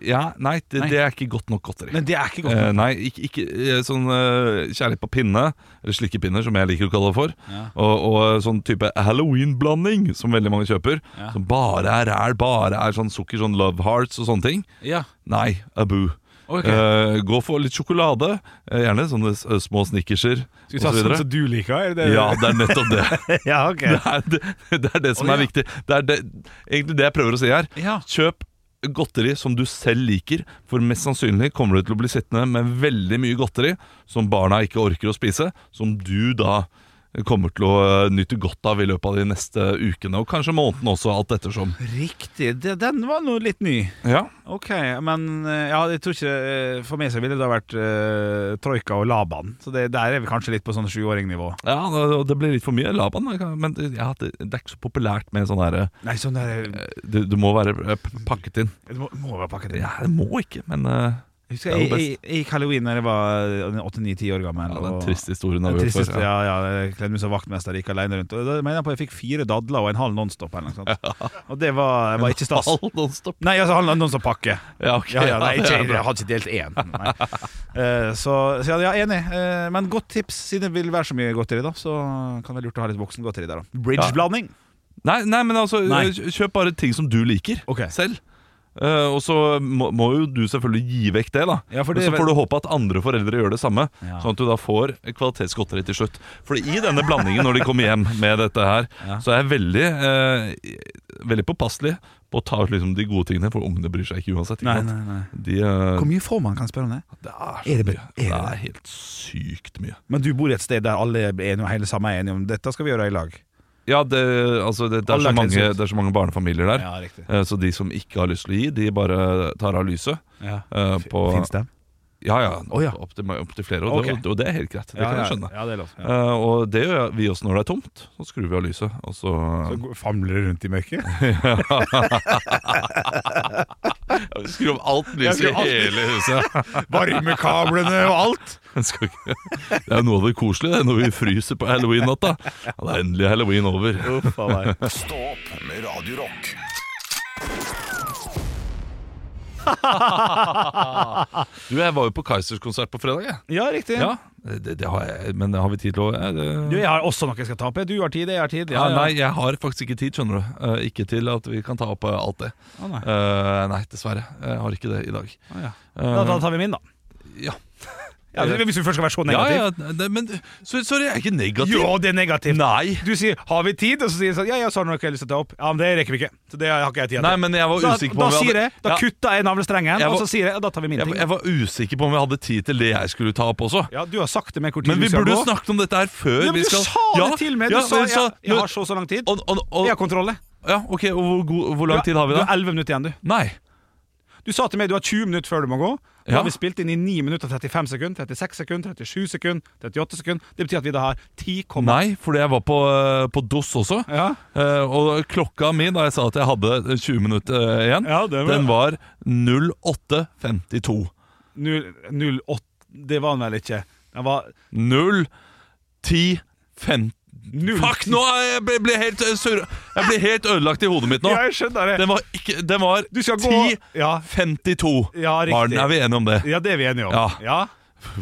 S2: Ja, nei, det,
S3: Nei.
S2: det er ikke godt nok godteri.
S3: Men det er ikke godt.
S2: Eh, nei, ikke, ikke eh, sånn eh, kjærlighet på pinne, eller slikkepinner, som jeg liker å kalle det for. Og, og sånn type halloween-blanding, som veldig mange kjøper.
S3: Ja.
S2: Som bare er ræl, bare er sånn sukker, sånn love hearts og sånne ting.
S3: Ja.
S2: Nei, abu.
S3: Ok.
S2: Eh, gå for litt sjokolade, eh, gjerne sånne s- små snickerser
S3: Skal vi ta
S2: osv.
S3: sånn som du liker? Er det
S2: Ja, det er nettopp det.
S3: ja, ok.
S2: Det er det, det, er det som
S3: Å,
S2: er
S3: ja.
S2: viktig. Det er det, egentlig det jeg prøver å si her.
S3: Ja.
S2: Ah. Kjøp godteri som du selv liker, for mest sannsynlig kommer du til å bli sittende med veldig mye godteri som barna ikke orker å spise, som du da kommer til å eh, nyte godt av i løpet av de neste ukene, og kanskje måneden også, alt ettersom.
S3: Riktig. Det, den var nå litt ny.
S2: Ja,
S3: Ok, men eh, ja, jeg tror ikke eh, For meg så ville det da vært eh, Troika og Laban. Så det, der er vi kanskje litt på sånn sjuåringnivå.
S2: ja og det blir litt for mye Laban, men det, ja, det, det er ikke så populært med sånn derre
S3: Nei, sånn der eh,
S2: du, du må være eh, p- pakket inn.
S3: Det må, må være pakket inn.
S2: Ja, det må ikke, men eh, det
S3: Jeg husker
S2: er
S3: jeg,
S2: jo
S3: jeg, jeg gikk halloween da jeg var eh, åtte-ni-ti år gammel.
S2: ja, den
S3: og-
S2: triste historien har
S3: Den
S2: vi hørt
S3: tristeste,
S2: før.
S3: ja, ja, jeg kledde meg som vaktmester, gikk alene rundt. Og da mener jeg på at jeg fikk fire dadler og en halv Nonstop. Eller noe sånt. Og det var, var ikke stas.
S2: All nonstop.
S3: Nei, altså halv Nonstop-pakke.
S2: Ja, ok.
S3: Ja, ja, nei,
S2: Ja, det
S3: ikke,
S2: er bra.
S3: jeg hadde ikke delt én. Nei. Eh, så, så ja, ja, enig. Eh, men godt tips, siden det vil være så mye godteri, da. Så kan det være lurt å ha litt voksengodteri der, da. Bridgeblanding.
S2: Nei, nei, men altså,
S3: Nei.
S2: kj- kjøp bare ting som du liker
S3: Ok.
S2: selv. Eh, og så må, må jo du selvfølgelig gi vekk det, da.
S3: Ja, for
S2: Men
S3: det-
S2: så får du håpe at andre foreldre gjør det samme,
S3: Ja.
S2: sånn at du da får kvalitetsgodteri til slutt. For i denne blandingen, når de kommer hjem med dette her, så er jeg veldig eh, Veldig påpasselig på å ta ut liksom de gode tingene, for ungene bryr seg ikke uansett. Ikke
S3: Nei,
S2: sant?
S3: nei, nei.
S2: De, eh,
S3: Hvor mye får man, kan jeg spørre om det?
S2: det er,
S3: Er
S2: så
S3: det
S2: mye.
S3: be- er det
S2: det
S3: det?
S2: er helt sykt mye.
S3: Men du bor i et sted der alle er enige, og hele sammen er enige om dette skal vi gjøre i lag.
S2: Ja, det, altså, det, det, er
S3: Alle er
S2: så mange,
S3: kledsomt.
S2: det er så mange barnefamilier der.
S3: Ja, riktig.
S2: Eh, Så de som ikke har lyst til å gi, de bare tar av lyset.
S3: Ja.
S2: eh, på,
S3: Fins det?
S2: Ja, ja.
S3: Å, ja.
S2: Opp, til, opp til flere. Og, det-
S3: Ok.
S2: og det er helt greit. Det kan jeg skjønne.
S3: Ja, det er lov. Ja.
S2: Eh, og det gjør vi også når det er tomt. Så skrur vi av lyset, og så,
S3: Så går- Famler du rundt i mørket?
S2: Ja, vi Skrur av alt lyset
S3: skrur
S2: i
S3: alt.
S2: hele huset.
S3: Varmekablene og alt.
S2: Jeg skal ikke- Det er noe av det koselige det, når vi fryser på halloween-natta. Ja, det er endelig halloween over.
S3: Uff a meg.
S1: Stå opp med Radio Rock.
S2: Du, jeg var jo på Kaizers konsert på fredag, jeg.
S3: Ja, riktig.
S2: Ja, det, det har jeg, men har vi tid til å ja, det-
S3: Du, jeg har også noe jeg skal ta opp. Du har tid, jeg har tid.
S2: Ja, nei, jeg har faktisk ikke tid, skjønner du. Eh, ikke til at vi kan ta opp eh, alt det.
S3: Å, nei.
S2: Eh, nei, dessverre. Jeg har ikke det i dag.
S3: Å, ja.
S2: Eh,
S3: Da, da tar vi min, da.
S2: ja.
S3: Ja, hvis du først skal være så
S2: ja,
S3: negativ.
S2: ja, det, men så- sorry, jeg er ikke negativ.
S3: Jo, det er negativt.
S2: Nei.
S3: Du sier 'har vi tid?' og så sier jeg sånn 'ja, ja, så har du noe jeg har lyst til å ta opp'. Ja, men det rekker vi ikke. Så det har ikke jeg tid til.
S2: Nei, men jeg var
S3: da,
S2: usikker på
S3: da,
S2: om vi
S3: sier jeg,
S2: hadde-
S3: da
S2: Ja.
S3: kutter jeg navlestrengen,
S2: Jeg
S3: og
S2: var-
S3: så sier jeg ja, 'da tar vi min
S2: Jeg,
S3: ting'.
S2: jeg var usikker på om vi hadde tid til det jeg skulle ta opp også.
S3: ja, du har sagt til meg hvor tid
S2: Men vi
S3: du skal
S2: burde
S3: gå.
S2: snakket om dette her før
S3: Ja, men
S2: vi
S3: du
S2: skal
S3: sa det til meg! Du
S2: ja,
S3: sa
S2: men
S3: 'ja,
S2: så-
S3: jeg
S2: nå-
S3: har så og så lang tid'.
S2: og, og, og,
S3: Jeg har kontroll. jeg.
S2: Ja, ok, og hvor, god, hvor lang
S3: Du
S2: tid har vi
S3: Du
S2: da?
S3: har 11 minutter igjen, du.
S2: Nei.
S3: Du sa til meg du har 20 minutter før du må gå. Nå
S2: Ja.
S3: har vi spilt inn i 9 minutter og 35 sekunder, 36 sekunder, 37 sekunder, 38 sekunder. Det betyr at vi da har 10, komma-
S2: Nei, fordi jeg var på, eh, på DOS også.
S3: Ja.
S2: Eh, og klokka mi da jeg sa at jeg hadde 20 minutter eh, igjen,
S3: Ja, det var-
S2: den var 08.52.
S3: Null- null åtte- Det var han vel ikke. Den var
S2: 0, 10, 5,
S3: Null.
S2: Fuck, nå er jeg ble, ble helt eh, surra. Jeg ble helt ødelagt i hodet mitt nå.
S3: Ja, jeg skjønner det.
S2: Den var, ikke, den var
S3: Du skal gå- Ja.
S2: 10.52.
S3: Ja, riktig.
S2: Var den- Er vi enige om det?
S3: Ja, det er vi enige om.
S2: Ja.
S3: Ja.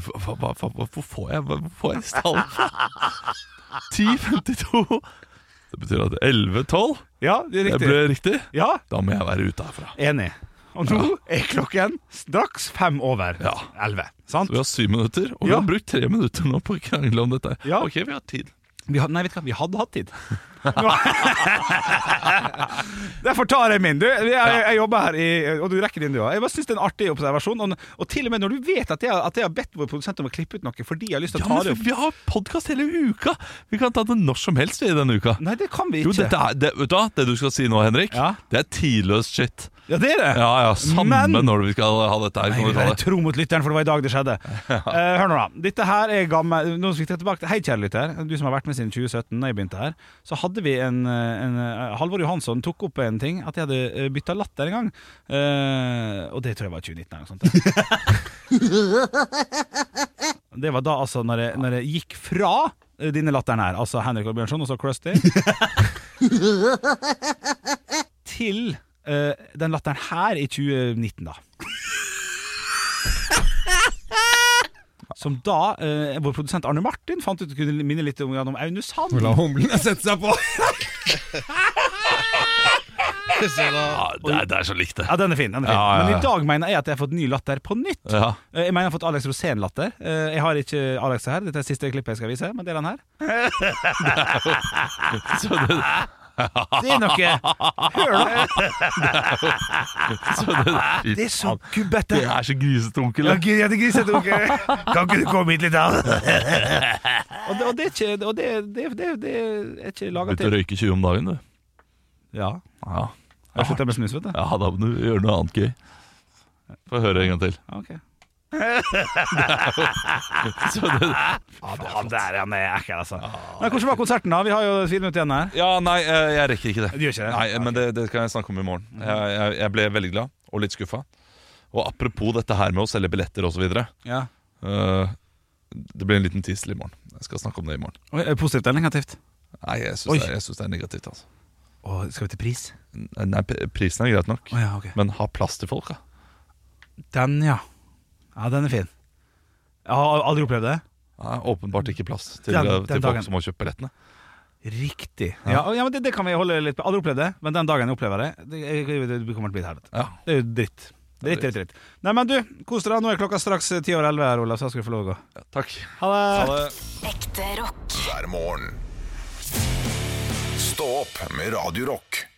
S2: Hva- hva- hva- hva- Hvorfor får jeg, hvorfor får jeg disse tallene? 10.52. Det betyr at 11.12
S3: Ja, det er
S2: det
S3: riktig.
S2: ble riktig.
S3: Ja,
S2: Da må jeg være ute herfra.
S3: enig. Og nå er klokken straks fem over
S2: Ja.
S3: elleve. Sant?
S2: Vi har syv minutter, og vi
S3: Ja.
S2: har brukt tre minutter nå på å krangle om dette.
S3: Ja.
S2: Ok, vi har tid.
S3: Vi had, nei, vet du hva, vi hadde hatt tid. Nå- Derfor tar jeg min. Du, jeg, jeg, jeg jobber her, i, og du rekker din, du òg. Jeg bare syns det er en artig observasjon. Og, og til og med når du vet at jeg, at jeg har bedt vår produsent om å klippe ut noe fordi jeg har lyst til
S2: Ja,
S3: å ta det
S2: men
S3: opp
S2: Vi har podkast hele uka! Vi kan ta det når som helst i denne uka.
S3: Nei, det kan vi ikke.
S2: Jo, dette er, det, vet du hva? Det du skal si nå, Henrik,
S3: Ja.
S2: det er tidløs shit.
S3: Ja, det er det.
S2: Ja, ja, Samme
S3: Men-
S2: når vi skal ha dette her.
S3: Nei,
S2: Kan
S3: vi
S2: du ta
S3: er
S2: det.
S3: tro mot lytteren, for det var i dag det skjedde. Eh, hør nå, da. Dette her er gammel Nå skal vi tre tilbake til Hei, kjære lytter. Du som har vært med siden 2017, da jeg begynte her. Så hadde vi en, en eh, Halvor Johansson tok opp en ting, at jeg hadde bytta latter en gang. Eh, og det tror jeg var i 2019 eller noe sånt. det var da altså når jeg, når jeg gikk fra eh, denne latteren her, altså Henrik Olbjørnson og så Krusty, til eh, den latteren her i 2019, da. Som da eh, vår produsent Arne Martin fant ut kunne minne litt om, om Aunusand.
S8: La humlene sette seg på.
S2: Ja, det, er, det er så likt, det.
S3: Ja, den er fin. Den er fin.
S2: Ja, ja, ja.
S3: Men i dag mener jeg at jeg har fått ny latter på nytt.
S2: Ja.
S3: Eh, Jeg mener jeg har fått Alex Rosén-latter. Eh, Jeg har ikke Alex her. Dette er siste klippet jeg skal vise, men det er den her.
S2: Så det,
S3: Det er noe Hør, da!
S2: så det,
S3: Ah, Det er så
S2: det
S3: gubbete.
S2: er så grisete, onkel.
S3: Ja, gud, jeg heter Grisete onkel. Kan ikke du komme hit litt, da? Og det, og det er ikke, og det, det, det, det er ikke laga
S2: Begynte å
S3: til
S2: røyke 20 om dagen, du.
S3: Ja.
S2: Ja,
S3: Jeg slutta med snus, vet du.
S2: ja da må du gjøre noe annet gøy. Få høre en gang til.
S3: Ja, ok.
S2: Så det,
S3: Han der han er ekkel, altså. Nei, hvordan var konserten, da? Vi har jo fire minutter igjen her.
S2: Ja, nei, eh, jeg rekker ikke det.
S3: Du gjør ikke det?
S2: Nei, Men det, det kan jeg snakke om i morgen. Jeg, jeg, jeg ble veldig glad, og litt skuffa. Og apropos dette her med å selge billetter osv.
S3: Ja.
S2: Uh, det blir en liten teasel i morgen. Jeg skal snakke om det i morgen.
S3: Oi, er det Positivt eller negativt?
S2: Nei, jeg
S3: Oi.
S2: syns det, jeg synes det er negativt, altså.
S3: Å, skal vi til pris?
S2: Nei, p- prisen er greit nok,
S3: Å ja, ok.
S2: men ha plass til folk, da.
S3: Den, ja. Ja, den er fin. Jeg har aldri opplevd det.
S2: Nei, åpenbart ikke plass til,
S3: Den-
S2: eh,
S3: den
S2: til
S3: dagen.
S2: folk som må kjøpe billettene.
S3: Riktig. Ja, ja men det, det kan vi holde litt på. Aldri opplevd det, men den dagen jeg opplever det, det, det kommer til å bli et helvete.
S2: Ja.
S3: Det er jo dritt. Dritt, dritt, dritt. Nei, men du, kos dere. Nå er klokka straks ti over elleve her, Olav, så skal du få lov å gå.
S2: Takk.
S3: Ha det!
S4: Ekte rock.
S1: hver morgen. Stå opp med Radio Rock.